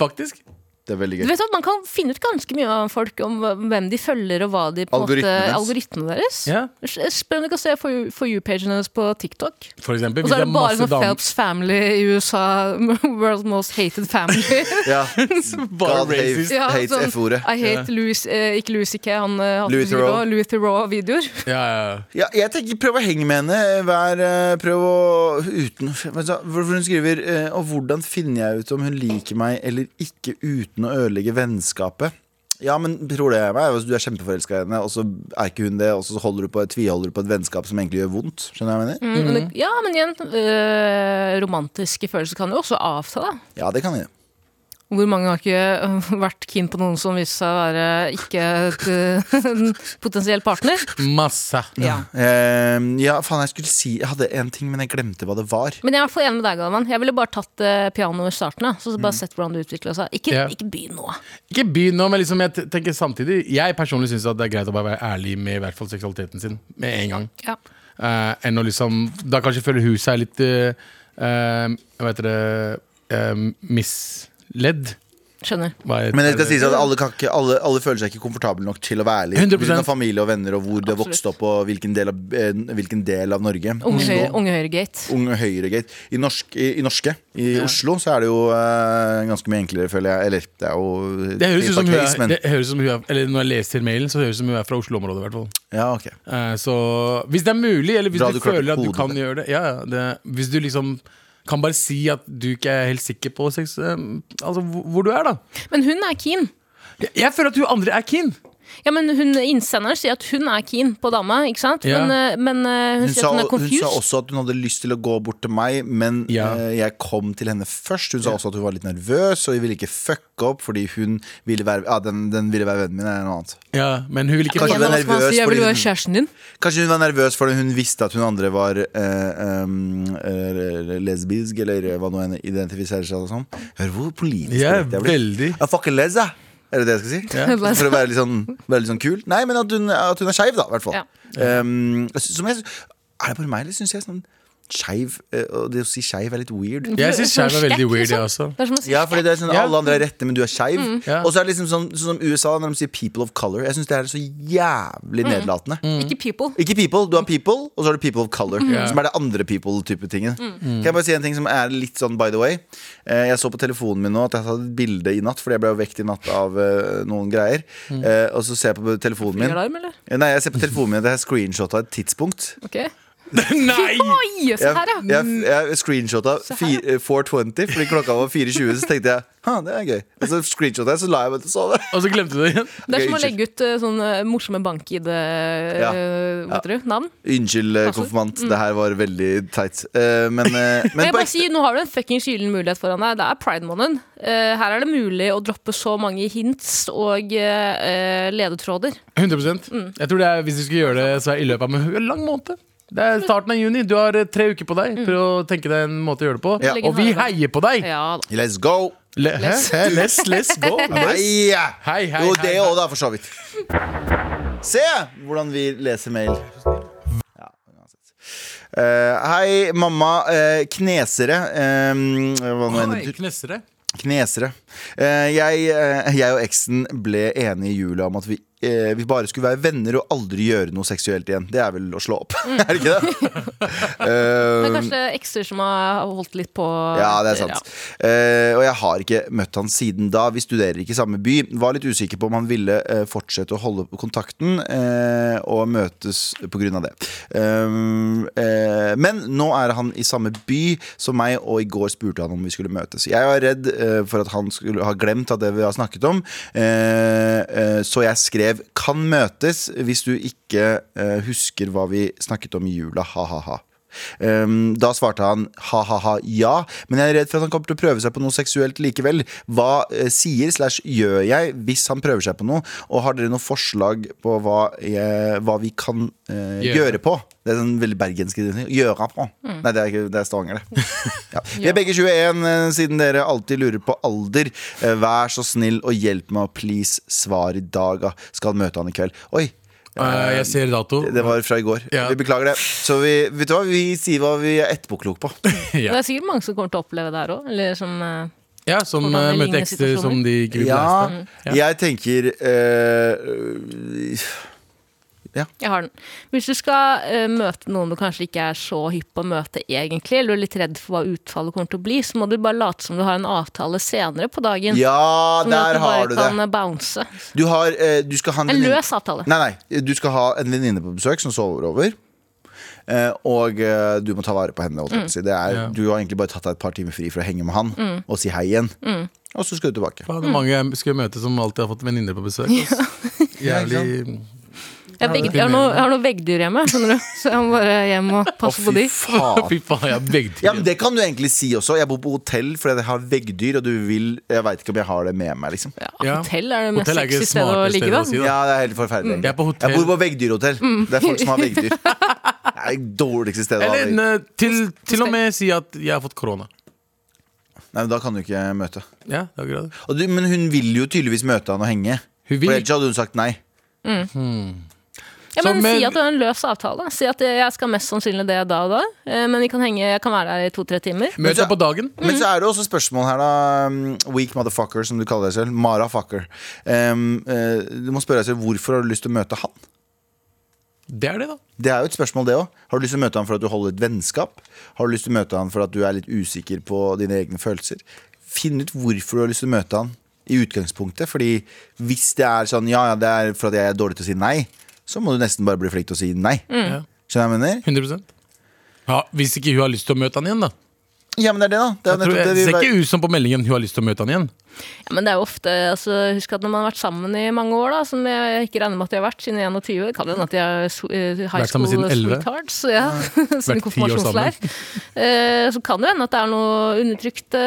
Speaker 4: Faktisk.
Speaker 2: Det er veldig
Speaker 3: Du
Speaker 2: gøy.
Speaker 3: vet at Man kan finne ut ganske mye om folk, om hva- hvem de følger og hva de på en måte-
Speaker 2: Algoritmene deres.
Speaker 3: Algoritmene deres.
Speaker 4: Ja.
Speaker 3: Spør om du kan se For you- For you-pagen hennes på TikTok.
Speaker 4: For eksempel.
Speaker 3: Og
Speaker 4: Hvis
Speaker 3: så
Speaker 4: det
Speaker 3: er
Speaker 4: er
Speaker 3: det bare
Speaker 4: masse
Speaker 3: sånn
Speaker 4: damer
Speaker 3: Phelps Family i USA. World's most hated family.
Speaker 2: Ja.
Speaker 4: Bare
Speaker 2: God hate-
Speaker 4: racist.
Speaker 3: Ja,
Speaker 2: hates
Speaker 3: sånn,
Speaker 2: F-ordet.
Speaker 3: I hate Louis, eh, ikke Louis C.K., han eh, hater
Speaker 2: Louis
Speaker 3: Louis
Speaker 2: Theroux.
Speaker 3: Louis Theroux-videoer.
Speaker 4: Ja, ja, ja.
Speaker 2: Ja, jeg tenker prøv å henge med henne. Vær, eh, prøv å uten, Hva sa- Hvorfor hun skriver eh, Og hvordan finner jeg ut om hun liker meg eller ikke uten å ødelegge vennskapet? Ja, men tror det meg altså, Du er kjempeforelska i henne, og så er ikke hun det, og så holder du på, tviholder du på et vennskap som egentlig gjør vondt. Skjønner du hva jeg mener?
Speaker 3: Mm, men det- Ja, men igjen, eh, romantiske følelser kan jo også avta, da.
Speaker 2: Ja, det kan jeg.
Speaker 3: Hvor mange har ikke eh, vært keen på noen som viste seg å være ikke et, eh, en potensiell partner?
Speaker 4: Masse.
Speaker 3: Ja.
Speaker 2: Eh, ja, faen, jeg skulle si Jeg hadde en ting, men jeg glemte hva det var.
Speaker 3: Men jeg er i hvert fall enig med deg, Galvan. Jeg ville bare tatt eh, pianoet i starten. da, Så bare sett hvordan det utvikla seg. Ikke,
Speaker 4: Ja.
Speaker 3: ikke begynn nå.
Speaker 4: Ikke begynn nå, men liksom jeg t- tenker samtidig Jeg personlig syns det er greit å bare være ærlig med i hvert fall seksualiteten sin med en gang.
Speaker 3: Ja.
Speaker 4: Eh, enn å liksom Da kanskje føler hun seg litt eh, eh, Hva heter det eh, Misledd.
Speaker 3: Skjønner.
Speaker 4: Hva heter
Speaker 2: Men det skal
Speaker 4: det?
Speaker 2: sies at alle, kan ikke, alle, alle føler seg ikke komfortable nok til å være ærlige.
Speaker 4: 100%
Speaker 2: Pga. familie og venner og hvor de har
Speaker 3: Absolutt.
Speaker 2: vokst opp og hvilken del av, eh, hvilken del av Norge.
Speaker 3: Unge,
Speaker 2: Oslo.
Speaker 3: høyre, unge Høyre-gate.
Speaker 2: Unge Høyre-gate. I, norsk, i, I norske, i Oslo, så er det jo eh, ganske mye enklere, føler jeg. Eller, det er jo
Speaker 4: Det høres
Speaker 2: case
Speaker 4: ut som
Speaker 2: by
Speaker 4: hun
Speaker 2: case,
Speaker 4: er,
Speaker 2: men-
Speaker 4: det høres ut som hun er Eller når jeg leser mailen, så høres det ut som hun er fra Oslo-området. i hvert fall
Speaker 2: Ja, ok.
Speaker 4: Eh, Så hvis det er mulig, eller hvis
Speaker 2: Da
Speaker 4: du
Speaker 2: hadde du klart
Speaker 4: føler at du
Speaker 2: kodet
Speaker 4: kan
Speaker 2: det.
Speaker 4: gjøre det, ja, ja, det Hvis du liksom kan bare si at du ikke er helt sikker på sex, eh, altså, hvor hvor du er, da.
Speaker 3: Men hun er keen.
Speaker 4: Jeg, jeg føler at hun andre er keen.
Speaker 3: Ja, men hun, Innsenderen sier at hun er keen på dama, ikke sant?
Speaker 4: Ja.
Speaker 3: Men, eh, men eh, hun,
Speaker 2: Hun
Speaker 3: sier
Speaker 2: sa,
Speaker 3: at hun er
Speaker 2: hun sa
Speaker 3: confused.
Speaker 2: også at hun hadde lyst til å gå bort til meg, men
Speaker 4: Ja.
Speaker 2: eh, jeg kom til henne først. Hun sa også at hun var litt nervøs og hun ville ikke fucke opp fordi hun ville være ja, den, den ville være vennen min, eller noe annet.
Speaker 4: Ja, men hun vil ikke
Speaker 2: Kanskje hun
Speaker 3: Igjen,
Speaker 2: er
Speaker 3: hva skal man
Speaker 2: nervøs
Speaker 3: si? Jeg vil
Speaker 2: fordi
Speaker 3: være
Speaker 2: hun-
Speaker 3: kjæresten din.
Speaker 2: Kanskje hun var nervøs fordi hun visste at hun andre var eh, em, eh, lesbisk, eller hva nå enn identifiserer seg som. Hør hvor politisk
Speaker 4: Ja,
Speaker 2: korrekt jeg blir.
Speaker 4: veldig.
Speaker 2: Jeg fucker les, jeg. Er det det jeg skal si? For å være litt sånn, være litt sånn kul? Nei, men at hun, at hun er skeiv, da, i hvert fall.
Speaker 3: Ja.
Speaker 2: Em, som jeg, er det bare meg, eller syns jeg sånn skeiv eh, Og det å si skeiv er litt weird.
Speaker 4: Jeg syns skjerm er veldig
Speaker 3: Skrekk,
Speaker 4: weird, jeg
Speaker 3: liksom.
Speaker 4: også.
Speaker 3: Det er som å si
Speaker 2: Ja, fordi det er sånn
Speaker 4: Ja. Mm.
Speaker 2: Alle andre er rette, men du er skeiv.
Speaker 4: Ja.
Speaker 2: Og så er det liksom sånn, sånn som USA, når de sier 'people of color'. Jeg syns det er så jævlig
Speaker 4: Mm.
Speaker 2: nedlatende.
Speaker 3: ikke people.
Speaker 2: Ikke people, du har people, og så har du people of color.
Speaker 3: Mhm.
Speaker 4: Ja.
Speaker 2: Som er det andre people-type tingen.
Speaker 3: Mm.
Speaker 2: Kan jeg bare si en ting som er litt sånn by the way? Eh, Jeg så på telefonen min nå at jeg hadde tatt et bilde i natt, fordi jeg ble jo vekt i natt av eh, noen greier.
Speaker 3: Mm.
Speaker 2: Eh, Og så ser jeg på telefonen min
Speaker 3: Alarm, eller?
Speaker 2: Eh, Nei, jeg ser på telefonen min at jeg har screenshotta et tidspunkt.
Speaker 3: Ok.
Speaker 4: Nei!
Speaker 3: Oi, se
Speaker 2: Jeg,
Speaker 3: her, ja! Mm.
Speaker 2: jeg, jeg screenshotta fire- eh, 420, fordi klokka var 4.20, så tenkte jeg ha, det er gøy. Og så screenshotta jeg, så la jeg meg til å sove.
Speaker 4: Og så glemte du det igjen.
Speaker 3: Det
Speaker 2: Ok,
Speaker 3: er som å
Speaker 2: unnskyld.
Speaker 3: legge ut eh, sånne morsomme eh,
Speaker 2: Ja.
Speaker 3: bank-ID-navn.
Speaker 2: Unnskyld, eh, konfirmant, det her var veldig teit. Eh, Men, eh,
Speaker 3: Mm. Men
Speaker 2: men
Speaker 3: jeg
Speaker 2: på
Speaker 3: bare
Speaker 2: ekte-
Speaker 3: sier, Nå har du en fuckings gyllen mulighet foran deg. Det er pride-måneden. Eh, her er det mulig å droppe så mange hints og eh, ledetråder.
Speaker 4: 100 Jeg tror det er, Hvis du skulle gjøre det, så er i løpet av en lang måned. Det er starten av juni. Du har eh, tre uker på deg Prøv å tenke deg en måte å gjøre det på.
Speaker 2: Ja.
Speaker 4: Og vi heier på deg!
Speaker 3: Ja da.
Speaker 2: Let's go!
Speaker 4: Le hæ? Hæ? Let's, let's go. Let's.
Speaker 2: Hei, ja.
Speaker 4: Hei, hei,
Speaker 2: Jo,
Speaker 4: hei,
Speaker 2: det
Speaker 4: hei.
Speaker 2: òg, da, for så vidt. Se hvordan vi leser mail. Ja, uansett. Eh, hei, mamma. eh, knesere. Eh, hva nå enn det betyr.
Speaker 4: Knessere.
Speaker 2: Knesere. Eh, jeg, eh, jeg og eksen ble enige i jula om at vi eh, vi bare skulle være venner og aldri gjøre noe seksuelt igjen. Det er vel å slå opp, er det ikke det? Eh,
Speaker 3: Det er kanskje ekser som har holdt litt på
Speaker 2: ja, det er sant.
Speaker 3: Ja.
Speaker 2: Eh, og jeg har ikke møtt han siden da. Vi studerer ikke i samme by. Var litt usikker på om han ville eh, fortsette å holde kontakten eh, og møtes pga. det. Um, eh, men nå er han i samme by som meg, og i går spurte han om vi skulle møtes. Jeg var redd eh, for at han skulle ha glemt av det vi har snakket om, eh, eh, så jeg skrev 'kan møtes' hvis du ikke eh, husker hva vi snakket om i jula, ha-ha-ha. Um, da svarte han ha-ha-ha ja, men jeg er redd for at han kommer til å prøve seg på noe seksuelt likevel. Hva eh, sier slash gjør jeg hvis han prøver seg på noe, og har dere noe forslag på hva, jeg, hva vi kan eh,
Speaker 4: Gjøre.
Speaker 2: gjøre på? Det er sånn veldig bergensk. Gjøre på. Nei, det er, ikke- det er Stavanger, det. Ja. Vi er begge 21, eh, siden dere alltid lurer på alder. Eh, Vær så snill og hjelp meg, please. Svar i dag, da. Skal møte han i kveld. Oi,
Speaker 4: Eh, jeg ser dato.
Speaker 2: det var fra i går.
Speaker 4: Ja.
Speaker 2: Vi beklager det. Så vi, vet du hva, vi sier hva vi er etterpåklok på.
Speaker 4: Ja.
Speaker 3: Det er sikkert mange som kommer til å oppleve det her òg. Eller som eh,
Speaker 4: Ja, som
Speaker 3: Hvordan
Speaker 4: eh,
Speaker 3: det
Speaker 4: møter
Speaker 3: ligner
Speaker 4: ekster som de ikke vil
Speaker 2: Ja,
Speaker 4: blæste.
Speaker 2: jeg tenker eh,
Speaker 3: Jeg har den. Hvis du skal eh, møte noen du kanskje ikke er så hypp på å møte egentlig, eller du er litt redd for hva utfallet kommer til å bli, så må du bare late som du har en avtale senere på dagen.
Speaker 2: Ja,
Speaker 3: som gjør at
Speaker 2: der
Speaker 3: du bare
Speaker 2: har du
Speaker 3: kan eh,
Speaker 2: det.
Speaker 3: bounce.
Speaker 2: Du, har, eh, du skal ha en
Speaker 3: En
Speaker 2: venninne-
Speaker 3: løs avtale.
Speaker 2: Nei, nei, du skal ha en venninne på besøk som sover over. eh, Og eh, du må ta vare på henne. holdt
Speaker 3: Mm.
Speaker 2: jeg på å si. Det er,
Speaker 4: Ja.
Speaker 2: Du har egentlig bare tatt deg et par timer fri for å henge med han og si hei igjen.
Speaker 3: Mm.
Speaker 2: Og så skal du tilbake.
Speaker 4: Faen, det er mange jeg skulle møte som alltid har fått venninner på besøk. ass. Jævlig
Speaker 3: Jeg, har vegg- jeg, har noe, jeg har noe veggdyr hjemme, skjønner du. Så jeg må bare hjem og
Speaker 2: Å,
Speaker 3: passe på de.
Speaker 2: faen.
Speaker 4: Fy faen, jeg er veggdyr.
Speaker 2: Ja, men Det kan du egentlig si også. Jeg bor på hotell fordi jeg har veggdyr, og du vil Jeg veit ikke om jeg har det med meg, liksom.
Speaker 3: Ja,
Speaker 4: Ja.
Speaker 3: hotell er det mest
Speaker 4: Hotell er ikke
Speaker 3: sexy
Speaker 4: det
Speaker 3: stedet å
Speaker 4: smarteste
Speaker 3: ligge,
Speaker 4: stedet
Speaker 3: da.
Speaker 4: å si det.
Speaker 2: Ja, det er helt forferdelig. egentlig.
Speaker 4: Mm. Jeg er på hotell. Mm.
Speaker 2: bor på veggdyrhotell. Det er folk som har veggdyr. Det er det dårligste stedet å ha
Speaker 4: Eller
Speaker 2: veggdyr.
Speaker 4: eh, til, til og med si at jeg har fått korona.
Speaker 2: Nei, men Da kan du ikke møte.
Speaker 4: Ja, det er akkurat det.
Speaker 2: Og du, men hun vil jo tydeligvis møte han og henge. For
Speaker 4: Hun vil-
Speaker 2: ellers hadde hun sagt nei.
Speaker 3: Ja,
Speaker 4: Så,
Speaker 3: men,
Speaker 4: men-
Speaker 3: Si at du har en løs avtale. Si at jeg skal mest sannsynlig det da og da, eh, men vi kan henge, jeg kan være der i to-tre timer.
Speaker 4: Møt
Speaker 2: så-
Speaker 4: deg på dagen.
Speaker 2: Men så er det også spørsmål her, da. um, Weak motherfucker, som du kaller deg selv. Mara fucker. Um, eh, du må spørre deg selv hvorfor har du lyst til å møte han?
Speaker 4: Det er det, da.
Speaker 2: Det er jo et spørsmål, det òg. Har du lyst til å møte han for at du holder et vennskap? Har du lyst til å møte han for at du er litt usikker på dine egne følelser? Finn ut hvorfor du har lyst til å møte han i utgangspunktet. Fordi hvis det er sånn ja, ja, det er for at jeg er dårlig til å si nei, så må du nesten bare bli flink til å si nei.
Speaker 3: Mm.
Speaker 4: Ja.
Speaker 2: Skjønner du hva jeg mener?
Speaker 4: 100 ja, Hvis ikke hun har lyst til å møte han igjen, da.
Speaker 2: Ja, men det er det, da. Det er
Speaker 4: Jeg tror,
Speaker 2: nettopp det
Speaker 4: det
Speaker 2: vi
Speaker 4: ser
Speaker 2: var-
Speaker 4: ikke ut som på meldingen hun har lyst til å møte han igjen.
Speaker 3: Ja, men det er jo ofte, altså, Husk at når man har vært sammen i mange år, da, som jeg ikke regner med at de har vært siden 21 Det kan hende at de er so- eh, high
Speaker 4: Vært sammen
Speaker 3: school
Speaker 4: siden 11.
Speaker 3: sweethearts. Ja, siden
Speaker 4: Vært ti år sammen.
Speaker 3: konfirmasjonsleir. Eh, Så kan det jo hende at det er noen undertrykte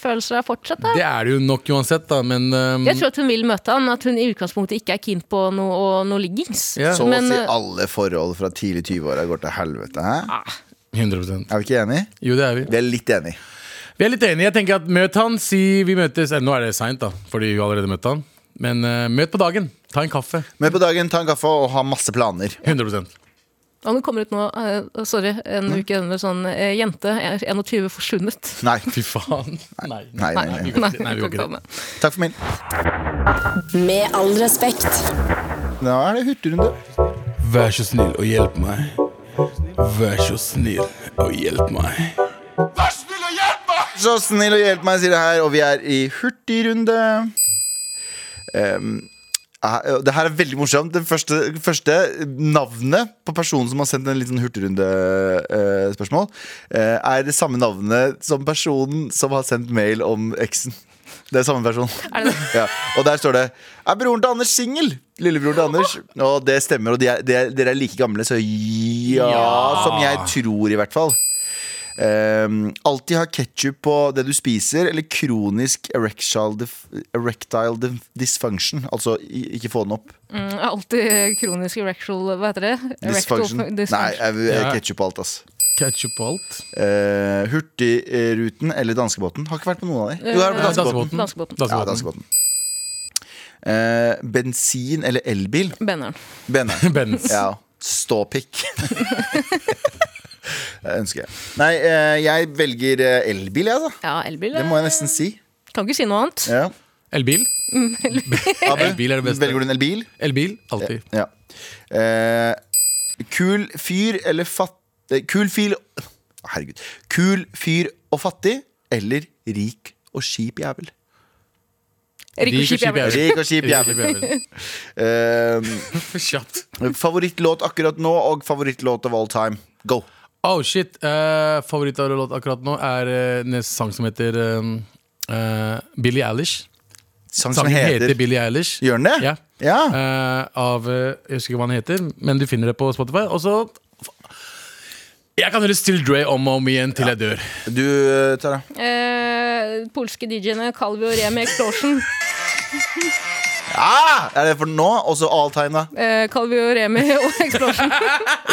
Speaker 3: følelser der fortsatt. Da.
Speaker 4: Det er det jo nok uansett, da, men um,
Speaker 3: Jeg tror at hun vil møte han, at hun i utgangspunktet ikke er keen på noe, og noe liggings.
Speaker 4: Ja.
Speaker 2: Så å
Speaker 3: Men,
Speaker 2: si
Speaker 3: eh,
Speaker 2: alle forhold fra tidlig 20-åra går til helvete. Hæ?
Speaker 3: ah,
Speaker 4: 100
Speaker 2: Er vi ikke enige?
Speaker 4: Jo, det er vi.
Speaker 2: Vi er litt enige.
Speaker 4: Vi er litt enige. Jeg tenker at Møt han, si vi møtes eh, Nå er det seint, da, fordi hun allerede møtte han. Men eh, møt på dagen. Ta en kaffe.
Speaker 2: Møt på dagen, ta en kaffe og ha masse planer.
Speaker 4: 100
Speaker 3: Om det kommer ut nå, eh, sorry, en uke under sånn eh, 'Jente eh, 21 forsvunnet'.
Speaker 2: Nei.
Speaker 4: Fy faen. Nei.
Speaker 2: Nei, nei, nei.
Speaker 4: vi
Speaker 3: Nei,
Speaker 4: går ikke- nei, vi går
Speaker 3: kan ta
Speaker 4: ikke det.
Speaker 3: med.
Speaker 2: Takk for min.
Speaker 1: Med all respekt.
Speaker 2: Da er det hurtigrunde.
Speaker 4: Vær så snill og hjelp meg. Vær så snill og hjelp meg.
Speaker 2: Så snill og hjelp meg, sier det her, og vi er i hurtigrunde. Um, eh, det her er veldig morsomt. Det første, første navnet på personen som har sendt en sånn liten hurtigrundespørsmål, eh, er det samme navnet som personen som har sendt mail om eksen. Det er samme person. Ja. Og der står det Er broren til Anders singel? Lillebroren til Anders. Og det stemmer, og de er, de er, dere er like gamle, så ja,
Speaker 4: Ja.
Speaker 2: som jeg tror, i hvert fall. Um, alltid ha ketsjup på det du spiser, eller kronisk erectile, dif erectile dif dysfunction. Altså i, ikke få den opp.
Speaker 3: Mm, jeg har alltid kronisk erectual Hva heter det? Erectal
Speaker 2: Dysfunction. Nei,
Speaker 3: dysfunction.
Speaker 2: jeg, jeg
Speaker 4: Ja.
Speaker 2: ketsjup på alt, ass.
Speaker 4: Ketchup på alt.
Speaker 2: Eh, Hurtigruten eller danskebåten. Har ikke vært på noen av de. Jo, jeg har vært på
Speaker 3: Eh,
Speaker 2: danskebåten.
Speaker 4: Danskebåten.
Speaker 3: Danskebåten.
Speaker 2: Ja, danskebåten. Eh, bensin eller elbil?
Speaker 3: Benneren.
Speaker 2: Benner.
Speaker 4: Benz.
Speaker 2: Ja, ståpikk Det ønsker jeg Nei, eh, jeg velger eh, elbil, jeg da
Speaker 3: Ja, elbil.
Speaker 2: Det må jeg nesten si
Speaker 3: Kan ikke si noe annet.
Speaker 2: ja.
Speaker 4: Elbil.
Speaker 2: Abu,
Speaker 4: Elbil er det beste.
Speaker 2: Mm, Velger du en elbil?
Speaker 4: Elbil, alltid.
Speaker 2: Ja. Eh, kul fyr eller fatt... eh, Kul fyr Herregud. Kul fyr og fattig eller rik og skip jævel?
Speaker 3: Rik og skip, jeg
Speaker 2: Rik og skip jævel. Eh,
Speaker 4: Kjapt.
Speaker 2: favorittlåt akkurat nå og favorittlåt of all time. Go.
Speaker 4: Oh shit, uh, Favorittlåt akkurat nå er eh, en sang som heter eh, eh, Billie Eilish.
Speaker 2: Sang som
Speaker 4: Sangen heter,
Speaker 2: heter
Speaker 4: Billie Eilish.
Speaker 2: Gjør den det?
Speaker 4: Ja.
Speaker 2: Ja.
Speaker 4: Eh, av eh, Jeg husker ikke hva han heter, men du finner det på Spotify. Og så Jeg kan høre Still Dre om og om igjen til jeg dør.
Speaker 2: Du, eh, Tara.
Speaker 3: Eh, polske DJ-ene Calvi og Remi Explosion.
Speaker 2: Ah, er det for nå? Også all time, da?
Speaker 3: Eh, Calvi og Remi og Explosion.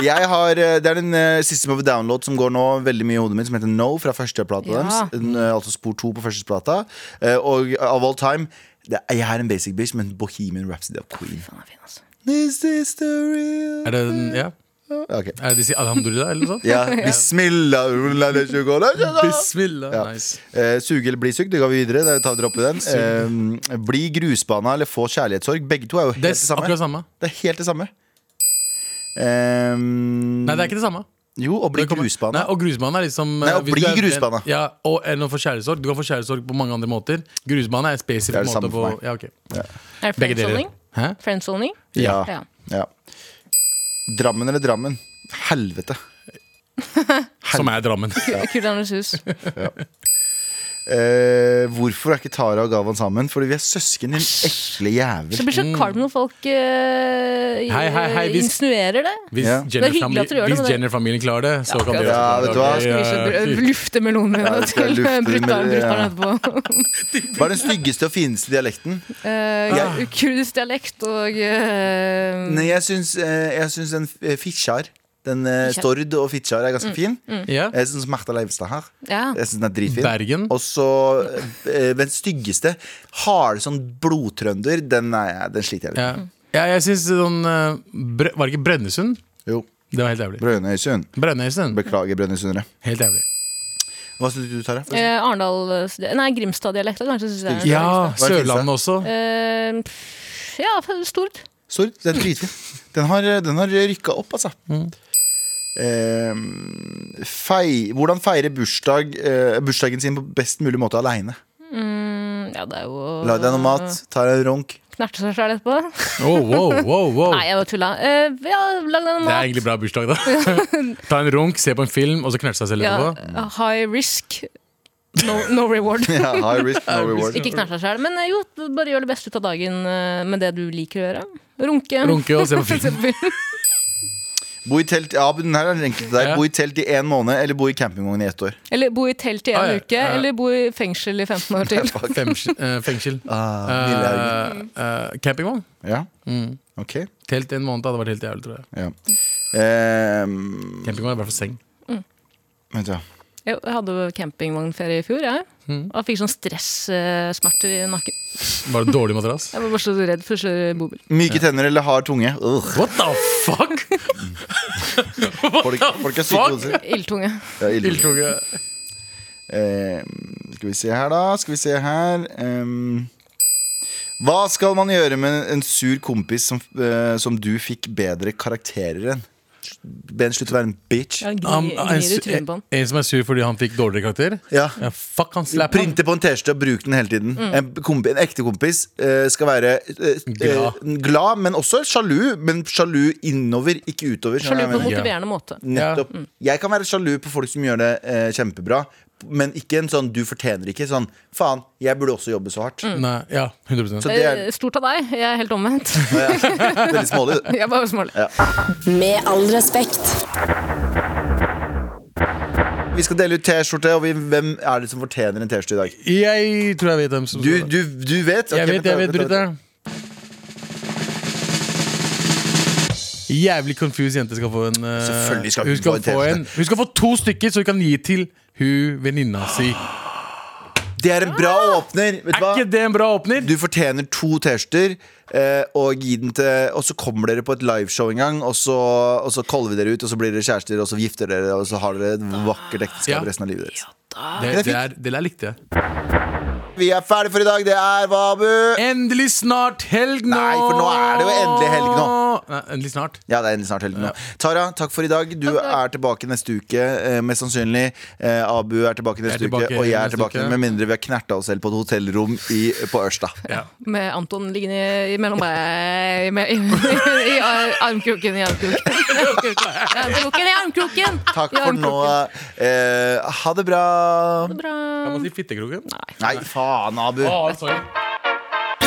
Speaker 2: Jeg har, eh, Det er den eh, siste på download som går nå veldig mye i hodet mitt, som heter No fra førsteplata
Speaker 3: Ja.
Speaker 2: deres. Den, eh, altså spor to på førsteplata. Eh, og av all time det er, Jeg er en basic bitch, men Bohemian Rhapsody av Queen.
Speaker 3: Den er fin, altså.
Speaker 2: This is the real
Speaker 4: Er det den- ja?
Speaker 2: Ok.
Speaker 4: Er det de sier alhamdulillah, eller noe sånt?
Speaker 2: Ja, Bismillah la la shukola, shukola.
Speaker 4: Bismillah.
Speaker 2: Ja.
Speaker 4: Nice.
Speaker 2: Eh, suge eller bli sugd, det går vi videre. Der tar vi dropper den. Eh, bli grusbana eller få kjærlighetssorg. Begge to er jo helt det,
Speaker 4: Det er
Speaker 2: samme.
Speaker 4: akkurat samme.
Speaker 2: Det er helt det samme. Um,
Speaker 4: Nei, det er ikke det samme.
Speaker 2: Jo, å bli
Speaker 4: Det kommer- Nei,
Speaker 2: grusbana.
Speaker 4: og grusbane er liksom
Speaker 2: Nei, å
Speaker 4: hvis
Speaker 2: bli
Speaker 4: du er-
Speaker 2: grusbane.
Speaker 4: Ja, og enn å få kjærlighetssorg. Du kan få kjærlighetssorg på mange andre måter. Grusbane er en
Speaker 2: Det er
Speaker 4: spesifikk
Speaker 2: det
Speaker 4: måte
Speaker 2: samme for
Speaker 4: på ja, ok.
Speaker 3: Er det
Speaker 4: Begge deler.
Speaker 3: friendzoning?
Speaker 4: Hæ?
Speaker 3: Friendzoning?
Speaker 2: Ja.
Speaker 3: Ja.
Speaker 2: Ja. Drammen eller Drammen? Helvete.
Speaker 4: Som er Drammen.
Speaker 3: Kuldernes hus.
Speaker 2: Mm. Eh, hvorfor er ikke Tara og Galvan sammen? Fordi vi er søsken, din ekle
Speaker 3: Så
Speaker 2: jævel.
Speaker 3: blir det så kaldt når folk eh,
Speaker 4: Hei, hei, hei, hvis-
Speaker 3: insinuerer det.
Speaker 4: Hvis
Speaker 2: Ja.
Speaker 3: Det er hyggelig
Speaker 4: Jenner-familien
Speaker 3: at du gjør det,
Speaker 4: hvis
Speaker 3: men det-
Speaker 4: Jenner-familien klarer det, så kan du
Speaker 2: Ja,
Speaker 4: gjøre det.
Speaker 2: vet du hva?
Speaker 4: Ok,
Speaker 3: Skal vi ikke dr- lufte melonene
Speaker 2: Ja, vi skal
Speaker 3: til
Speaker 2: lufte dem,
Speaker 3: brutter'n
Speaker 2: ja.
Speaker 3: etterpå?
Speaker 2: Hva er den styggeste og fineste dialekten?
Speaker 3: Uh, kurdisk dialekt og eh,
Speaker 2: Nei, jeg syns, eh, jeg syns den eh, Fitjar. Den eh,
Speaker 3: Fitjar. Mm.
Speaker 2: Stord og Fitjar er ganske fin.
Speaker 4: Ja.
Speaker 2: Jeg syns Martha Leivestad her.
Speaker 3: ja.
Speaker 2: Jeg synes den er dritfin.
Speaker 4: Bergen.
Speaker 2: Og så eh, den styggeste, harde sånn blodtrønder, den, er, den sliter jeg litt med.
Speaker 4: Ja. Ja, jeg syns sånn eh, Brø- Var det ikke Brønnøysund?
Speaker 2: Jo.
Speaker 4: Det var helt jævlig.
Speaker 2: Brønnøysund.
Speaker 4: Brønnøysund.
Speaker 2: Beklager, Brønnøysundere.
Speaker 4: Helt jævlig.
Speaker 2: Hva syns du, Tara?
Speaker 3: Eh, Arendal Nei, Grimstad-dialekta, kanskje. Synes jeg er.
Speaker 4: Ja,
Speaker 2: Hva er det
Speaker 4: Sørlandet også.
Speaker 3: Eh, pff, ja, stort.
Speaker 2: Sorry, den er dritfin. Den har, den har rykka opp, altså.
Speaker 4: Mm.
Speaker 2: Eh, fei, hvordan feire bursdag, eh, bursdagen sin på best mulig måte aleine?
Speaker 3: Mm, Ja, det er jo
Speaker 2: Lag deg noe mat, ta deg en ronk.
Speaker 3: Knerte seg sjæl etterpå.
Speaker 4: Oh, wow, wow, wow.
Speaker 3: Nei, jeg bare tulla. Eh, ja, lag deg
Speaker 4: Det
Speaker 3: noe
Speaker 4: er
Speaker 3: mat.
Speaker 4: egentlig bra bursdag, da. Ta en runk, se på en film, og så knerte seg selv
Speaker 3: Ja,
Speaker 4: etterpå.
Speaker 3: high risk, no, no reward.
Speaker 2: Ja, high risk, no reward.
Speaker 3: Ikke knert seg sjæl, men eh, jo, bare gjør det beste ut av dagen eh, med det du liker å gjøre. Runke.
Speaker 4: Runke og se på film.
Speaker 2: Bo i telt ja, men den her er den enkelte deg.
Speaker 4: Ja.
Speaker 2: Bo i telt i én måned, eller bo i campingvogn i ett år.
Speaker 3: Eller bo i telt i en
Speaker 4: Ah, ja.
Speaker 3: uke,
Speaker 4: Ja.
Speaker 3: eller bo i fengsel i 15 år til.
Speaker 4: Fengsel. eh, fengsel.
Speaker 2: Ah, lille Haugen.
Speaker 4: Eh, mm. eh, campingvogn.
Speaker 2: ja, ok.
Speaker 4: Telt en måned hadde vært helt jævlig, tror jeg.
Speaker 2: Ja. Eh,
Speaker 4: Campingvogn er i hvert fall seng.
Speaker 2: vent, ja.
Speaker 3: Jeg hadde jo campingvognferie i fjor, jeg.
Speaker 4: Hmm.
Speaker 3: Og fikk sånn stressmerter i nakken.
Speaker 4: Bare dårlig madrass.
Speaker 3: Jeg var bare så redd for å kjøre bobil.
Speaker 2: Myke tenner eller hard tunge? Ugh.
Speaker 4: What the fuck?
Speaker 2: Folk, folk er syke i hodet sitt.
Speaker 3: Ildtunge.
Speaker 2: Ja, ille.
Speaker 4: Ildtunge.
Speaker 2: Eh, skal vi se her, da. Skal vi se her Ehm, Hva skal man gjøre med en sur kompis som, eh, som du fikk bedre karakterer enn? Ben, slutt å være en bitch.
Speaker 3: Jeg
Speaker 4: Um,
Speaker 3: gnir
Speaker 4: en,
Speaker 3: gnir i
Speaker 4: su-
Speaker 3: trynet på han.
Speaker 4: en som er sur fordi han fikk dårligere karakter?
Speaker 2: Ja.
Speaker 4: Ja, fuck han, slapp han.
Speaker 2: Printe på en T-skjorte og bruke den hele tiden.
Speaker 3: Mm.
Speaker 2: En, kompi, en ekte kompis eh, skal være eh,
Speaker 4: Glad.
Speaker 2: eh, glad, men også sjalu. Men sjalu innover, ikke utover.
Speaker 3: Sjalu
Speaker 2: skjønner du
Speaker 3: på Mm.
Speaker 2: hva jeg mener?
Speaker 4: Ja.
Speaker 3: en motiverende måte.
Speaker 2: Nettopp. Jeg kan være sjalu på folk som gjør det eh, kjempebra, men ikke en sånn 'du fortjener ikke'. Sånn 'faen, jeg burde også jobbe så hardt'.
Speaker 3: Mm.
Speaker 4: Nei, ja, 100
Speaker 2: Så det er
Speaker 3: Eh, Stort av deg. Jeg er helt omvendt.
Speaker 2: veldig smålig. det.
Speaker 3: Jeg er bare smålig.
Speaker 1: Med all respekt.
Speaker 2: Vi skal dele ut T-skjorte, og vi, hvem er det som fortjener en T-skjorte i dag?
Speaker 4: Jeg tror jeg vet hvem som
Speaker 2: Du, du, du vet? Ok,
Speaker 4: Jeg vet,
Speaker 2: vent da,
Speaker 4: jeg
Speaker 2: vent
Speaker 4: vet,
Speaker 2: da,
Speaker 4: bryter. Jævlig confused jente skal få en eh,
Speaker 2: Selvfølgelig skal hun
Speaker 4: hun
Speaker 2: få en
Speaker 4: skal få
Speaker 2: T-skjorte.
Speaker 4: en Hun skal få to stykker, så hun kan gi til hun venninna si.
Speaker 2: vent da. Det er en bra åpner. Vet
Speaker 4: Er
Speaker 2: du hva?
Speaker 4: ikke det en bra åpner?
Speaker 2: Du fortjener to T-skjorter, eh, og, gi den til- og så kommer dere på et liveshow en gang, og så, og så kaller vi dere ut, og så blir dere kjærester, og så gifter dere, og så har dere et vakkert ekteskap
Speaker 4: Ja.
Speaker 2: resten av livet deres.
Speaker 4: Det,
Speaker 2: er
Speaker 4: det, er, det der likte jeg.
Speaker 2: Vi er ferdig for i dag. Det er Vabu.
Speaker 4: Endelig snart helg nå!
Speaker 2: Nei, for nå er det jo endelig helg nå.
Speaker 4: Nei, endelig snart.
Speaker 2: Ja, det er endelig snart helg nå. Tara, takk for i dag. Du er tilbake neste uke, eh, mest sannsynlig. Eh, Abu er tilbake neste
Speaker 4: Jeg er tilbake
Speaker 2: uke, og jeg er
Speaker 4: neste
Speaker 2: tilbake.
Speaker 4: uke.
Speaker 2: Med mindre vi har knerta oss selv på et hotellrom i, på Ørsta.
Speaker 4: Ja.
Speaker 3: Med Anton liggende i- mellom meg med, i, i, i ar- armkroken. I armkroken, i armkroken, i armkroken, i armkroken.
Speaker 2: Takk
Speaker 3: I
Speaker 2: for nå.
Speaker 3: armkroken.
Speaker 2: Eh, ha det bra.
Speaker 4: Kan
Speaker 3: Bra.
Speaker 4: man si fittekroken?
Speaker 2: Nei, faen, Abu.
Speaker 4: Å, sorry.